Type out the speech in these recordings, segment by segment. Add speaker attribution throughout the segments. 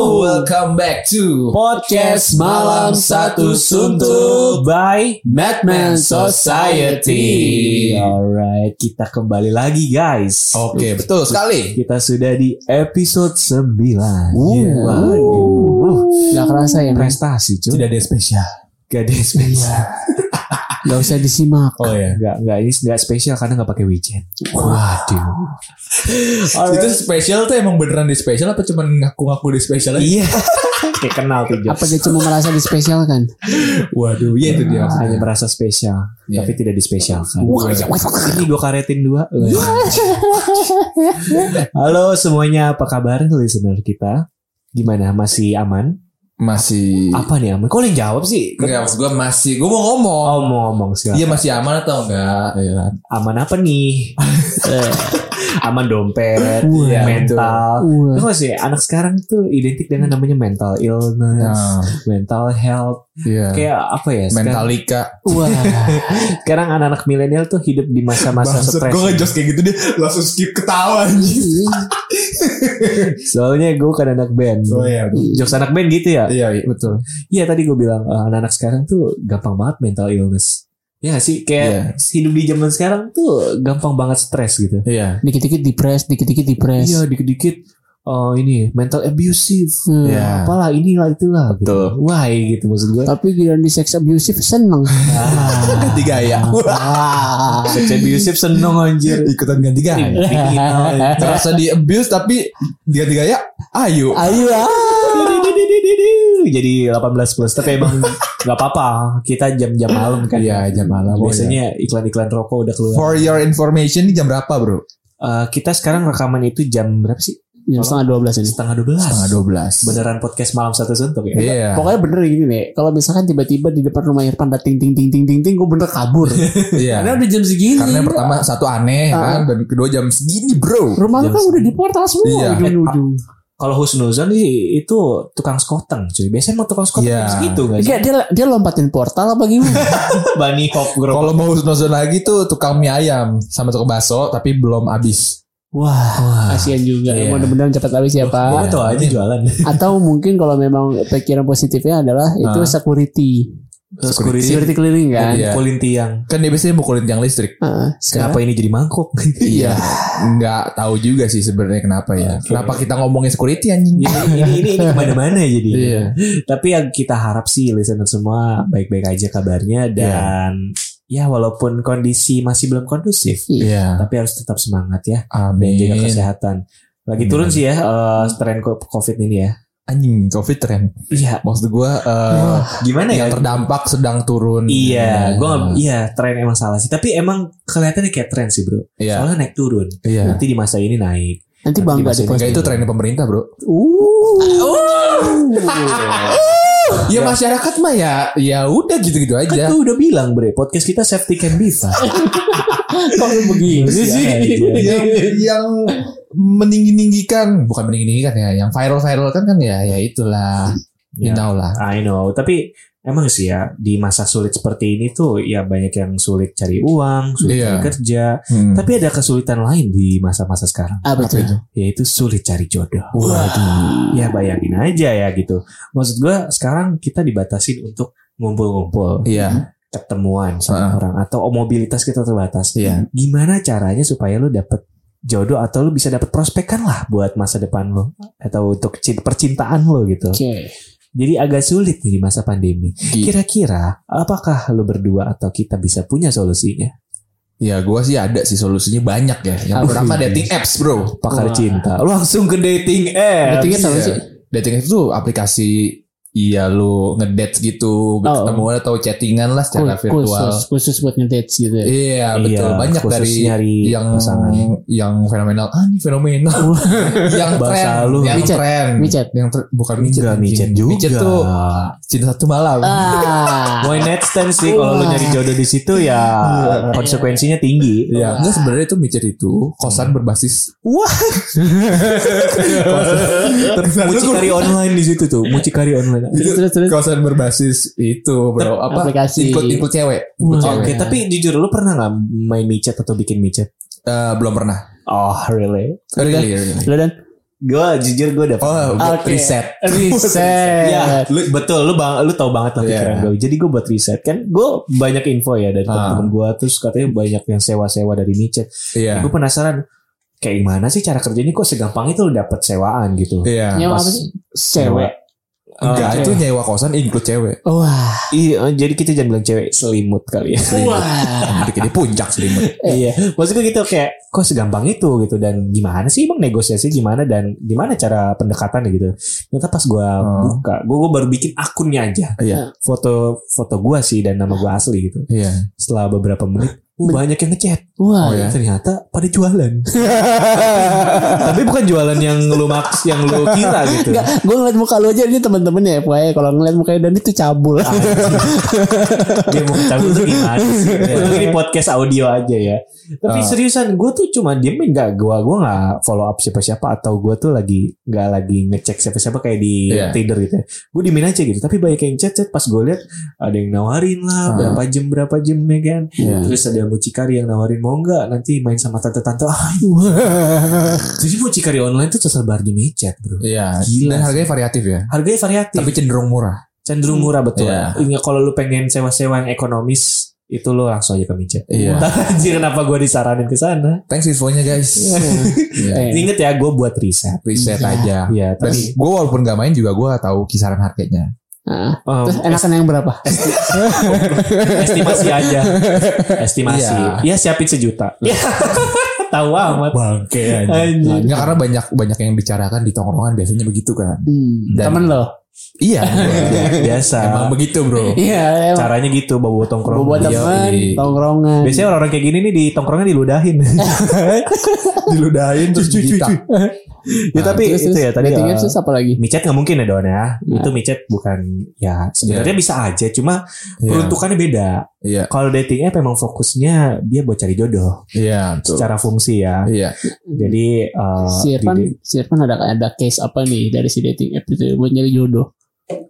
Speaker 1: welcome back to
Speaker 2: Podcast Malam Satu Suntuk by
Speaker 1: Madman Society.
Speaker 2: Alright, kita kembali lagi guys.
Speaker 1: Oke, betul sekali.
Speaker 2: Kita sudah di episode 9.
Speaker 1: Uh.
Speaker 2: Yeah, waduh.
Speaker 3: Gak kerasa ya, Mas.
Speaker 2: Prestasi cuy.
Speaker 1: Tidak ada spesial.
Speaker 2: Gak ada
Speaker 1: Iya.
Speaker 2: spesial.
Speaker 3: Gak usah disimak.
Speaker 1: Oh ya.
Speaker 2: Gak, gak, ini gak spesial karena gak pakai widget. Waduh.
Speaker 1: Itu spesial tuh emang beneran di spesial apa cuman ngaku-ngaku di spesial aja?
Speaker 2: Iya. Kayak kenal tuh Jos.
Speaker 3: Apa dia cuma merasa dispesialkan?
Speaker 1: Waduh, iya itu dia.
Speaker 2: Hanya merasa spesial,
Speaker 1: Iya.
Speaker 2: tapi tidak dispesialkan.
Speaker 1: Wah,
Speaker 2: Ini gue karetin dua. Halo semuanya, apa kabar listener kita? Gimana? Masih aman?
Speaker 1: Masih
Speaker 2: Apa nih aman? Kok lo yang jawab sih?
Speaker 1: Enggak, maksud gue masih Gue mau ngomong
Speaker 2: Oh, mau ngomong sih.
Speaker 1: Iya masih aman atau enggak Nah, Iya kan?
Speaker 2: Aman apa nih? Eh, aman dompet,
Speaker 1: Iya,
Speaker 2: mental.
Speaker 3: Wah.
Speaker 2: Terus sih anak sekarang tuh identik
Speaker 1: Iya.
Speaker 2: dengan namanya mental illness,
Speaker 1: Nah,
Speaker 2: mental health.
Speaker 1: Iya
Speaker 2: Kayak apa ya? Sekarang,
Speaker 1: Mentalika
Speaker 3: Wah.
Speaker 2: sekarang anak-anak milenial tuh hidup di masa-masa
Speaker 1: Maksud
Speaker 2: stres.
Speaker 1: gue ngejokes kayak gitu Dia langsung skip ketawa anjing.
Speaker 2: Soalnya gue kan anak band.
Speaker 1: Oh iya
Speaker 2: Jokes anak band gitu ya?
Speaker 1: Iya iya, betul
Speaker 2: Iya tadi gue bilang eh, anak-anak sekarang tuh gampang banget mental illness. Ya nggak sih kayak hidup di zaman sekarang tuh gampang banget stres gitu.
Speaker 1: Iya
Speaker 3: Dikit-dikit dipres, dikit-dikit dipres.
Speaker 2: Iya dikit-dikit oh ini mental abusive.
Speaker 3: Hmm.
Speaker 1: Iya.
Speaker 2: Apalah inilah itulah gitu.
Speaker 1: Betul.
Speaker 2: Why gitu maksud gue.
Speaker 3: Tapi giliran di seks abusive seneng.
Speaker 1: Ganti gaya
Speaker 2: Sex abusive seneng anjir.
Speaker 1: Ikutan ganti gaya Terasa di abuse tapi Ganti gaya Ayo
Speaker 3: Ayo ah.
Speaker 2: Jadi 18 plus Tapi emang gak apa-apa Kita jam-jam malam iya. kan
Speaker 1: Iya, jam malam.
Speaker 2: Biasanya iklan-iklan rokok udah keluar
Speaker 1: For your information ini jam berapa bro?
Speaker 2: Eh, Kita sekarang rekaman itu jam berapa sih?
Speaker 3: Jam setengah
Speaker 1: Iya.
Speaker 3: 12 ini.
Speaker 2: Setengah 12
Speaker 1: Setengah 12
Speaker 2: beneran podcast malam satu suntuk ya.
Speaker 1: Iya
Speaker 3: Pokoknya bener gini nih. Kalau misalkan tiba-tiba di depan rumah Irfan ada ting ting ting ting ting ting, gue bener kabur.
Speaker 1: Iya
Speaker 3: Karena udah jam segini.
Speaker 1: Karena yang pertama satu aneh
Speaker 3: Ah.
Speaker 1: kan Dan kedua jam segini bro
Speaker 3: rumah lu
Speaker 2: Jam
Speaker 3: kan udah
Speaker 2: segini.
Speaker 3: di portal semua
Speaker 1: Iya.
Speaker 3: ujung-ujung.
Speaker 2: Kalau Husnuzon sih itu tukang skoteng cuy. Biasanya mau tukang skoteng
Speaker 1: Iya.
Speaker 2: jam segitu gak sih?
Speaker 3: Enggak, dia dia lompatin portal apa gimana?
Speaker 2: Bani hop gerobak.
Speaker 1: Kalau mau nozon lagi tuh tukang mie ayam sama tukang bakso tapi belum habis.
Speaker 2: Wah.
Speaker 3: Kasihan juga.
Speaker 2: Iya.
Speaker 3: Emang bener-bener cepat habis ya, Pak.
Speaker 1: Iya.
Speaker 2: Gue tuh aja jualan.
Speaker 3: atau mungkin kalau memang pikiran positifnya adalah itu
Speaker 2: Ah.
Speaker 3: security
Speaker 1: Security.
Speaker 3: security clearing kan Ah,
Speaker 1: Iya.
Speaker 2: Mukulin tiang.
Speaker 1: Kan dia biasanya mukulin tiang listrik.
Speaker 3: Heeh.
Speaker 2: Kenapa
Speaker 3: sekarang
Speaker 2: ini jadi mangkok?
Speaker 1: Iya. Nggak tahu juga sih sebenarnya kenapa ya.
Speaker 2: Oke. Iya.
Speaker 1: Kenapa kita ngomongin security anjing?
Speaker 2: Ini ini ini, ini kemana-mana jadi.
Speaker 1: Iya.
Speaker 2: Tapi yang kita harap sih listener semua baik-baik aja
Speaker 1: Iya.
Speaker 2: kabarnya dan ya walaupun kondisi masih belum kondusif,
Speaker 1: Iya.
Speaker 2: tapi harus tetap semangat ya. dan jaga
Speaker 1: Amin.
Speaker 2: kesehatan. Lagi
Speaker 1: Amin.
Speaker 2: turun sih ya eh, tren co- COVID ini ya.
Speaker 1: Anjing covid tren.
Speaker 2: Iya.
Speaker 1: Maksud gua eh,
Speaker 2: Gimana ya?
Speaker 1: yang terdampak sedang turun.
Speaker 2: Iya,
Speaker 1: Hmm.
Speaker 2: gua nggak- iya tren emang salah sih. Tapi emang kelihatannya kayak tren sih bro.
Speaker 1: Iya.
Speaker 2: Soalnya naik turun.
Speaker 1: Iya.
Speaker 2: Nanti di masa ini naik.
Speaker 3: nanti bangga
Speaker 2: Nanti
Speaker 3: di
Speaker 2: masih
Speaker 3: pos
Speaker 1: Nggak, itu trennya pemerintah bro. Uh. Ya masyarakat mah ya ya udah gitu-gitu
Speaker 2: Kan
Speaker 1: aja.
Speaker 2: gue udah bilang bre, podcast kita safety can be fun.
Speaker 3: Ah, kok
Speaker 1: Iya
Speaker 3: lu begini
Speaker 2: Iya,
Speaker 3: sih
Speaker 1: yang, yang meninggi-ninggikan bukan meninggi-ninggikan ya yang viral-viral kan kan ya ya itulah you
Speaker 2: Ya,
Speaker 1: know lah
Speaker 2: I know. Tapi emang sih ya di masa sulit seperti ini tuh ya banyak yang sulit cari uang,
Speaker 1: Iya.
Speaker 2: sulit cari kerja.
Speaker 1: Hmm.
Speaker 2: Tapi ada kesulitan lain di masa-masa sekarang.
Speaker 3: apa
Speaker 1: Apa
Speaker 3: tuh
Speaker 1: itu?
Speaker 2: yaitu sulit cari jodoh. Waduh. Ya bayangin aja ya gitu. Maksud gua sekarang kita dibatasin untuk ngumpul-ngumpul,
Speaker 1: iya
Speaker 2: ketemuan sama
Speaker 1: Heeh.
Speaker 2: orang atau oh, mobilitas kita terbatas.
Speaker 1: Iya.
Speaker 2: Gimana caranya supaya lu dapet jodoh atau lu bisa dapet prospekan lah buat masa depan lu atau untuk cin- percintaan lu gitu.
Speaker 3: oke
Speaker 2: Jadi agak sulit nih di masa pandemi.
Speaker 1: Gi-
Speaker 2: Kira-kira apakah lu berdua atau kita bisa punya solusinya?
Speaker 1: ya gue sih ada sih solusinya banyak ya yang
Speaker 2: Apa
Speaker 1: pertama
Speaker 2: itu?
Speaker 1: dating apps bro
Speaker 2: Pakar
Speaker 3: Wah.
Speaker 2: cinta. Langsung ke dating apps.
Speaker 3: Dating
Speaker 1: Iya,
Speaker 3: apps apa sih?
Speaker 1: dating apps tuh aplikasi Iya lu ngedate
Speaker 2: Oh.
Speaker 1: gitu ketemuan atau chattingan lah secara
Speaker 3: Khusus-
Speaker 1: virtual.
Speaker 3: khusus khusus buat ngedates gitu ya
Speaker 1: Iya betul
Speaker 2: Iya,
Speaker 1: banyak
Speaker 2: khusus
Speaker 1: dari
Speaker 2: nyari
Speaker 1: yang
Speaker 2: pasangan.
Speaker 1: yang fenomenal ah ini fenomenal yang
Speaker 2: Bahasa
Speaker 1: tren
Speaker 2: lu.
Speaker 1: yang
Speaker 3: Micet,
Speaker 1: tren
Speaker 3: micet.
Speaker 1: yang tren- bukan micet
Speaker 2: Enggak
Speaker 1: anjing.
Speaker 2: micet juga.
Speaker 1: micet tuh cinta satu malam
Speaker 3: ah
Speaker 2: Why net stand sih kalau lu
Speaker 3: Wah.
Speaker 2: nyari jodoh di situ ya
Speaker 1: Iya.
Speaker 2: konsekuensinya tinggi.
Speaker 1: Ya, enggak sebenarnya itu micet itu kosan berbasis
Speaker 2: Hmm. Wah. Mucikari online di situ tuh, mucikari online.
Speaker 3: terus terus terus
Speaker 1: kosan berbasis itu bro apa
Speaker 3: aplikasi.
Speaker 1: ikut ikut cewek, ikut
Speaker 2: Oke,
Speaker 1: cewek.
Speaker 3: Cewek.
Speaker 2: tapi jujur lu pernah nggak main micet atau bikin micet?
Speaker 1: Eh, belum pernah
Speaker 2: Oh, really?
Speaker 1: Really, really.
Speaker 3: lo dan Ah,
Speaker 2: Gue jujur gue dapet.
Speaker 1: Oh, buat
Speaker 3: Oke.
Speaker 1: riset.
Speaker 3: Riset.
Speaker 2: Ya, lu, betul. Lu bang, lu tau banget lah
Speaker 1: Iya.
Speaker 2: pikiran gue. Jadi gue buat riset kan. Gue banyak info ya dari
Speaker 1: Ah.
Speaker 2: temen-temen gue. Terus katanya banyak yang sewa-sewa dari micet.
Speaker 1: Iya.
Speaker 2: Gue penasaran. Kayak gimana sih cara kerjanya kok segampang itu lu dapet sewaan gitu.
Speaker 1: Iya.
Speaker 3: Nyewa
Speaker 2: pas-
Speaker 3: apa sih? Cewek.
Speaker 1: Enggak,
Speaker 2: Oke.
Speaker 1: itu nyewa kosan include cewek.
Speaker 3: Wah.
Speaker 2: Iya, jadi kita jangan bilang cewek selimut kali ya.
Speaker 3: Wah.
Speaker 1: Bikin di puncak selimut.
Speaker 2: iya, maksudnya gitu kayak kok segampang itu gitu dan gimana sih bang negosiasi gimana dan gimana cara pendekatannya gitu. Ternyata pas gua
Speaker 1: Hmm.
Speaker 2: buka, gua, gua baru bikin akunnya aja.
Speaker 1: Iya.
Speaker 2: Foto foto gua sih dan nama gua asli gitu.
Speaker 1: Iya.
Speaker 2: Setelah beberapa menit oh, banyak yang ngechat.
Speaker 1: Oh,
Speaker 3: Wah.
Speaker 1: iya.
Speaker 2: Ternyata pada jualan. Tapi bukan jualan yang lu maks yang lu kira gitu.
Speaker 3: Enggak, gue ngeliat muka lu aja ini temen-temen ya FYI kalau ngeliat mukanya Dani tuh cabul.
Speaker 2: Dia mau cabut tuh gimana sih? Untung ini podcast audio aja ya. Tapi
Speaker 1: Ah.
Speaker 2: seriusan, gue tuh cuma diemin gak. Gue gue nggak follow up siapa-siapa atau gue tuh lagi nggak lagi ngecek siapa-siapa kayak di
Speaker 1: Iya.
Speaker 2: Tinder gitu. ya. Gue diemin aja gitu. Tapi banyak yang chat-chat pas gue lihat ada yang nawarin lah
Speaker 1: Ah.
Speaker 2: berapa jam berapa jam ya kan.
Speaker 1: Iya.
Speaker 2: Terus ada mucikari yang nawarin mau nggak nanti main sama tante-tante. Ah, jadi mucikari online tuh tersebar di micet bro.
Speaker 1: Iya.
Speaker 2: Gila
Speaker 1: Dan
Speaker 2: sih.
Speaker 1: harganya variatif ya.
Speaker 2: Harganya variatif.
Speaker 1: Tapi cenderung murah.
Speaker 2: cenderung murah betul.
Speaker 1: Iya.
Speaker 2: Ingat kalau lu pengen sewa-sewa yang ekonomis itu lu langsung aja ke Micet.
Speaker 1: Iya.
Speaker 2: Anjir kenapa gue disaranin ke sana?
Speaker 1: Thanks infonya guys. Iya.
Speaker 3: Eh.
Speaker 2: Ingat ya gue buat riset.
Speaker 1: Riset
Speaker 3: Iya.
Speaker 1: aja.
Speaker 2: Iya,
Speaker 1: Dan
Speaker 2: tapi
Speaker 1: gue walaupun gak main juga gue tahu kisaran harganya.
Speaker 3: Nah,
Speaker 2: um,
Speaker 3: terus enakan yang berapa?
Speaker 2: estimasi aja. Estimasi.
Speaker 1: Iya.
Speaker 2: Ya siapin sejuta. Tahu amat.
Speaker 1: Bangke
Speaker 2: Anjir.
Speaker 1: Enggak Nah, karena banyak banyak yang bicarakan di tongkrongan biasanya begitu kan.
Speaker 3: Hmm,
Speaker 1: Dan-
Speaker 3: temen lo.
Speaker 1: Iya.
Speaker 2: Biasa.
Speaker 1: Emang begitu bro.
Speaker 3: Iya, emang.
Speaker 2: Caranya gitu bawa bawa tongkrong.
Speaker 3: Buat
Speaker 1: Iya,
Speaker 3: temen,
Speaker 1: iya.
Speaker 3: tongkrongan.
Speaker 2: Biasanya orang-orang kayak gini nih di tongkrongnya diludahin.
Speaker 1: Diludahin terus
Speaker 2: digitak. ya
Speaker 1: Nah,
Speaker 2: tapi
Speaker 3: Terus,
Speaker 2: itu
Speaker 3: terus,
Speaker 2: ya tadi.
Speaker 3: dating
Speaker 2: eh,
Speaker 3: apps terus apa lagi?
Speaker 2: micet nggak mungkin ya Don ya.
Speaker 1: Iya.
Speaker 3: Nah.
Speaker 2: Itu micet bukan ya sebenarnya bisa aja cuma
Speaker 1: Iya.
Speaker 2: peruntukannya beda.
Speaker 1: Iya.
Speaker 2: Kalau dating app memang fokusnya dia buat cari jodoh
Speaker 1: Iya. betul.
Speaker 2: secara fungsi ya.
Speaker 1: Iya.
Speaker 2: Jadi eh,
Speaker 3: Si Irfan,
Speaker 2: di-
Speaker 3: si Irfan ada ada case apa nih dari si dating app itu ya, buat nyari jodoh?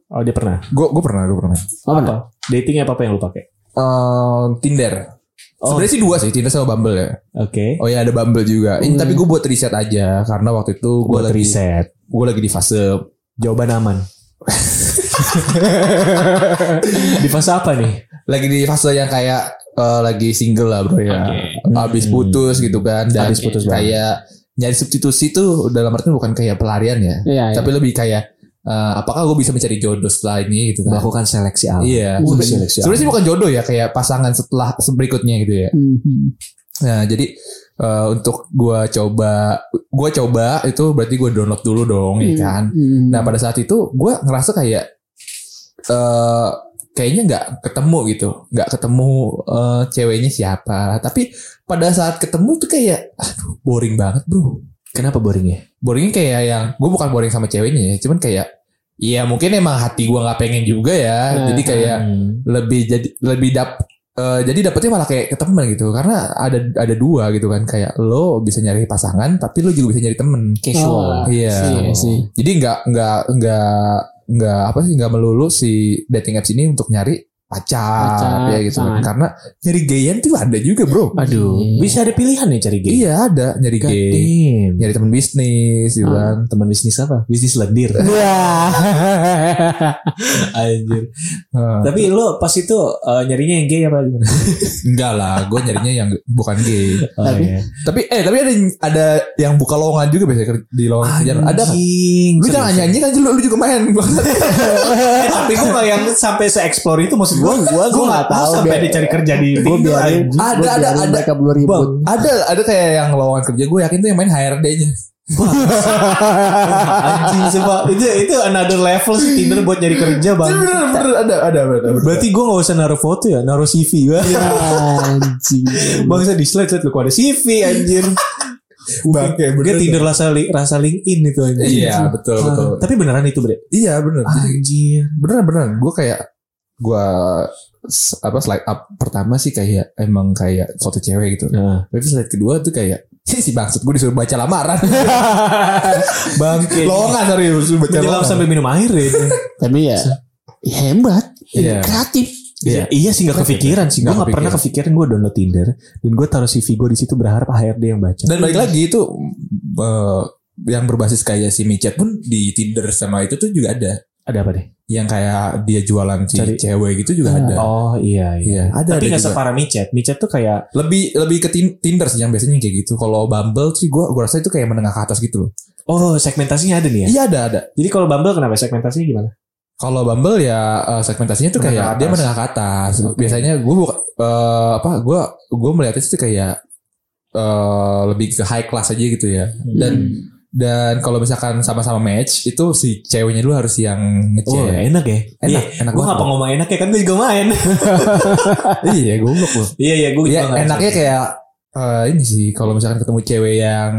Speaker 2: oh dia pernah.
Speaker 1: Gue gue pernah gue pernah.
Speaker 3: Apa?
Speaker 2: Apa? Dating app apa yang lu pakai?
Speaker 1: Eh, Tinder.
Speaker 2: Oh,
Speaker 1: Sebenarnya sih dua sih Tinder sama Bumble ya.
Speaker 2: Oke.
Speaker 1: Oh ya ada Bumble juga. Ini
Speaker 3: Hmm.
Speaker 1: tapi gue buat riset aja karena waktu itu gue
Speaker 2: iya. Buat
Speaker 1: lagi
Speaker 2: riset.
Speaker 1: gue lagi di fase
Speaker 2: Jawaban aman. di fase apa nih?
Speaker 1: lagi di fase yang kayak eh, lagi single lah bro ya.
Speaker 2: Oke.
Speaker 1: Habis
Speaker 2: Hmm.
Speaker 1: putus gitu kan dan
Speaker 2: Habis putus banget.
Speaker 1: kayak nyari substitusi tuh dalam artian bukan kayak pelarian ya,
Speaker 3: Iya, iya.
Speaker 1: tapi lebih kayak eh, apakah gue bisa mencari jodoh setelah ini gitu kan.
Speaker 2: Melakukan seleksi alam.
Speaker 1: Iya.
Speaker 2: Uh,
Speaker 1: Sebe-
Speaker 2: seleksi alam.
Speaker 1: Sebenarnya sih bukan jodoh ya kayak pasangan setelah berikutnya gitu ya.
Speaker 3: Mhm.
Speaker 1: Nah, jadi eh, untuk gua coba gua coba itu berarti gua download dulu dong
Speaker 2: Hmm.
Speaker 1: ya kan.
Speaker 3: Mhm.
Speaker 1: Nah, pada saat itu gua ngerasa kayak eh kayaknya nggak ketemu gitu, nggak ketemu eh, ceweknya siapa. Tapi pada saat ketemu tuh kayak aduh boring banget, Bro.
Speaker 2: Kenapa boringnya?
Speaker 1: Boringnya kayak yang gue bukan boring sama ceweknya ya, cuman kayak Iya mungkin emang hati gua nggak pengen juga ya, jadi kayak
Speaker 2: Hmm.
Speaker 1: lebih jadi lebih dap eh, jadi dapetnya malah kayak ke temen gitu karena ada ada dua gitu kan kayak lo bisa nyari pasangan tapi lo juga bisa nyari temen
Speaker 3: Oh,
Speaker 2: casual.
Speaker 1: iya
Speaker 3: Iya sih.
Speaker 1: jadi nggak nggak nggak nggak apa sih nggak melulu si dating apps ini untuk nyari pacar, ya
Speaker 3: Pacar,
Speaker 1: gitu kan.
Speaker 3: pasangan.
Speaker 1: karena nyari gayan tuh ada juga bro
Speaker 2: Aduh,
Speaker 3: Iya.
Speaker 2: bisa ada pilihan ya cari gay.
Speaker 1: iya ada nyari
Speaker 2: God
Speaker 1: gay
Speaker 2: damn.
Speaker 1: nyari temen bisnis gitu
Speaker 3: Ah.
Speaker 1: kan
Speaker 2: teman bisnis apa? Bisnis lendir. Anjir.
Speaker 1: Ah,
Speaker 2: Tapi lo pas itu eh, nyarinya yang gay apa gimana?
Speaker 1: enggak lah gue nyarinya yang bukan gay
Speaker 3: Tapi-
Speaker 2: iya.
Speaker 1: tapi eh tapi ada ada yang buka lowongan juga biasanya ker- di lowongan kerjaan ada kan
Speaker 2: Anjing.
Speaker 1: Lu jangan nyanyi kan lu, lu juga main.
Speaker 2: Eh, tapi gue nggak yang sampai se explore itu maksud gue. Gue gue nggak
Speaker 3: nggak
Speaker 2: tahu
Speaker 3: tahu,
Speaker 2: sampai
Speaker 3: biar-
Speaker 2: dia cari kerja di
Speaker 3: Gue
Speaker 2: Tinder,
Speaker 3: biarin,
Speaker 2: anjing.
Speaker 1: Ada,
Speaker 3: gua
Speaker 1: ada,
Speaker 3: biarin
Speaker 1: ada.
Speaker 3: mereka belum ribut.
Speaker 1: ada ada kayak yang lowongan kerja gue yakin tuh yang main HRD-nya.
Speaker 2: Anjing sumpah. Itu itu another level sih Tinder buat nyari kerja bang.
Speaker 1: Bener bener ada ada ada.
Speaker 2: Berarti gue nggak usah naruh foto ya, naruh CV
Speaker 1: Iya.
Speaker 2: ya.
Speaker 3: Ya, anjing.
Speaker 2: Bang saya di slide lihat lu kok ada CV anjir.
Speaker 1: Bangke,
Speaker 2: Dia
Speaker 1: bener.
Speaker 2: Tinder rasa li- rasa LinkedIn itu anjir.
Speaker 1: Iya betul betul.
Speaker 2: Ah, Tapi beneran itu bre.
Speaker 1: Iya bener.
Speaker 2: Anjir.
Speaker 1: Bener bener. Gue kayak gue s- apa slide up pertama sih kayak emang kayak foto cewek gitu. Tapi slide kedua tuh kayak "Hih, si bangsat gue disuruh baca lamaran.
Speaker 2: Bangke.
Speaker 1: lowongan serius disuruh baca
Speaker 2: Menyelam
Speaker 1: lowongan.
Speaker 2: sambil minum air ya. dia.
Speaker 3: Tapi ya hebat,
Speaker 1: Iya.
Speaker 3: kreatif.
Speaker 1: Iya.
Speaker 2: Iya sih gak kepikiran sih. Gue
Speaker 1: Nggak
Speaker 2: gak pernah kepikiran gue download Tinder. Dan gue taruh CV gue di situ berharap HRD yang baca.
Speaker 1: Dan balik lagi itu eh, yang berbasis kayak si micet pun di Tinder sama itu tuh juga ada.
Speaker 2: Ada apa deh?
Speaker 1: Yang kayak dia jualan si
Speaker 2: Cari-
Speaker 1: cewek gitu juga
Speaker 3: Ah,
Speaker 1: ada.
Speaker 2: Oh iya
Speaker 1: Iya,
Speaker 2: iya.
Speaker 1: ada
Speaker 2: Tapi
Speaker 1: ada
Speaker 2: nggak
Speaker 1: juga.
Speaker 2: separah micet. Micet tuh kayak
Speaker 1: Lebih lebih ke tin- Tinder sih yang biasanya kayak gitu. Kalau Bumble sih gua gua rasa itu kayak menengah ke atas gitu loh.
Speaker 2: oh segmentasinya ada nih ya.
Speaker 1: Iya ada ada.
Speaker 2: Jadi kalau Bumble kenapa segmentasinya gimana?
Speaker 1: Kalau Bumble ya eh, segmentasinya tuh kayak
Speaker 2: Menengah ke
Speaker 1: dia
Speaker 2: atas.
Speaker 1: menengah ke atas.
Speaker 2: Oke.
Speaker 1: Biasanya gue buka, eh, apa gue gue melihatnya itu kayak eh, lebih ke high class aja gitu ya.
Speaker 2: Hmm.
Speaker 1: Dan dan kalau misalkan sama-sama match itu si ceweknya dulu harus yang ngecek.
Speaker 2: Oh enak ya.
Speaker 1: Iya, enak,
Speaker 2: Iya.
Speaker 1: enak
Speaker 2: Gue
Speaker 1: banget.
Speaker 2: ngapa ngomong enak ya kan gue juga main.
Speaker 1: iya, goblok loh.
Speaker 2: Iya iya gue
Speaker 1: Iya,
Speaker 2: juga ngerasa.
Speaker 1: enaknya kayak eh, ini sih kalau misalkan ketemu cewek yang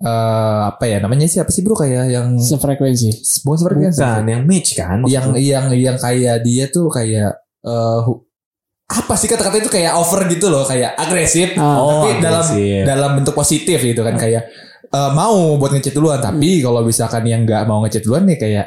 Speaker 1: eh apa ya namanya sih apa sih bro kayak yang
Speaker 3: Hmm. Sefrekuensi.
Speaker 1: bukan seperti kan?
Speaker 2: bukan yang match kan.
Speaker 1: yang yang yang kayak dia tuh kayak eh hu- apa sih kata-kata itu kayak over gitu loh kayak agresif
Speaker 3: Ah.
Speaker 2: oh,
Speaker 1: tapi dalam
Speaker 2: agresif.
Speaker 1: dalam bentuk positif gitu kan kayak eh, mau buat ngechat duluan
Speaker 2: Hmm.
Speaker 1: tapi kalau misalkan yang nggak mau ngechat duluan nih kayak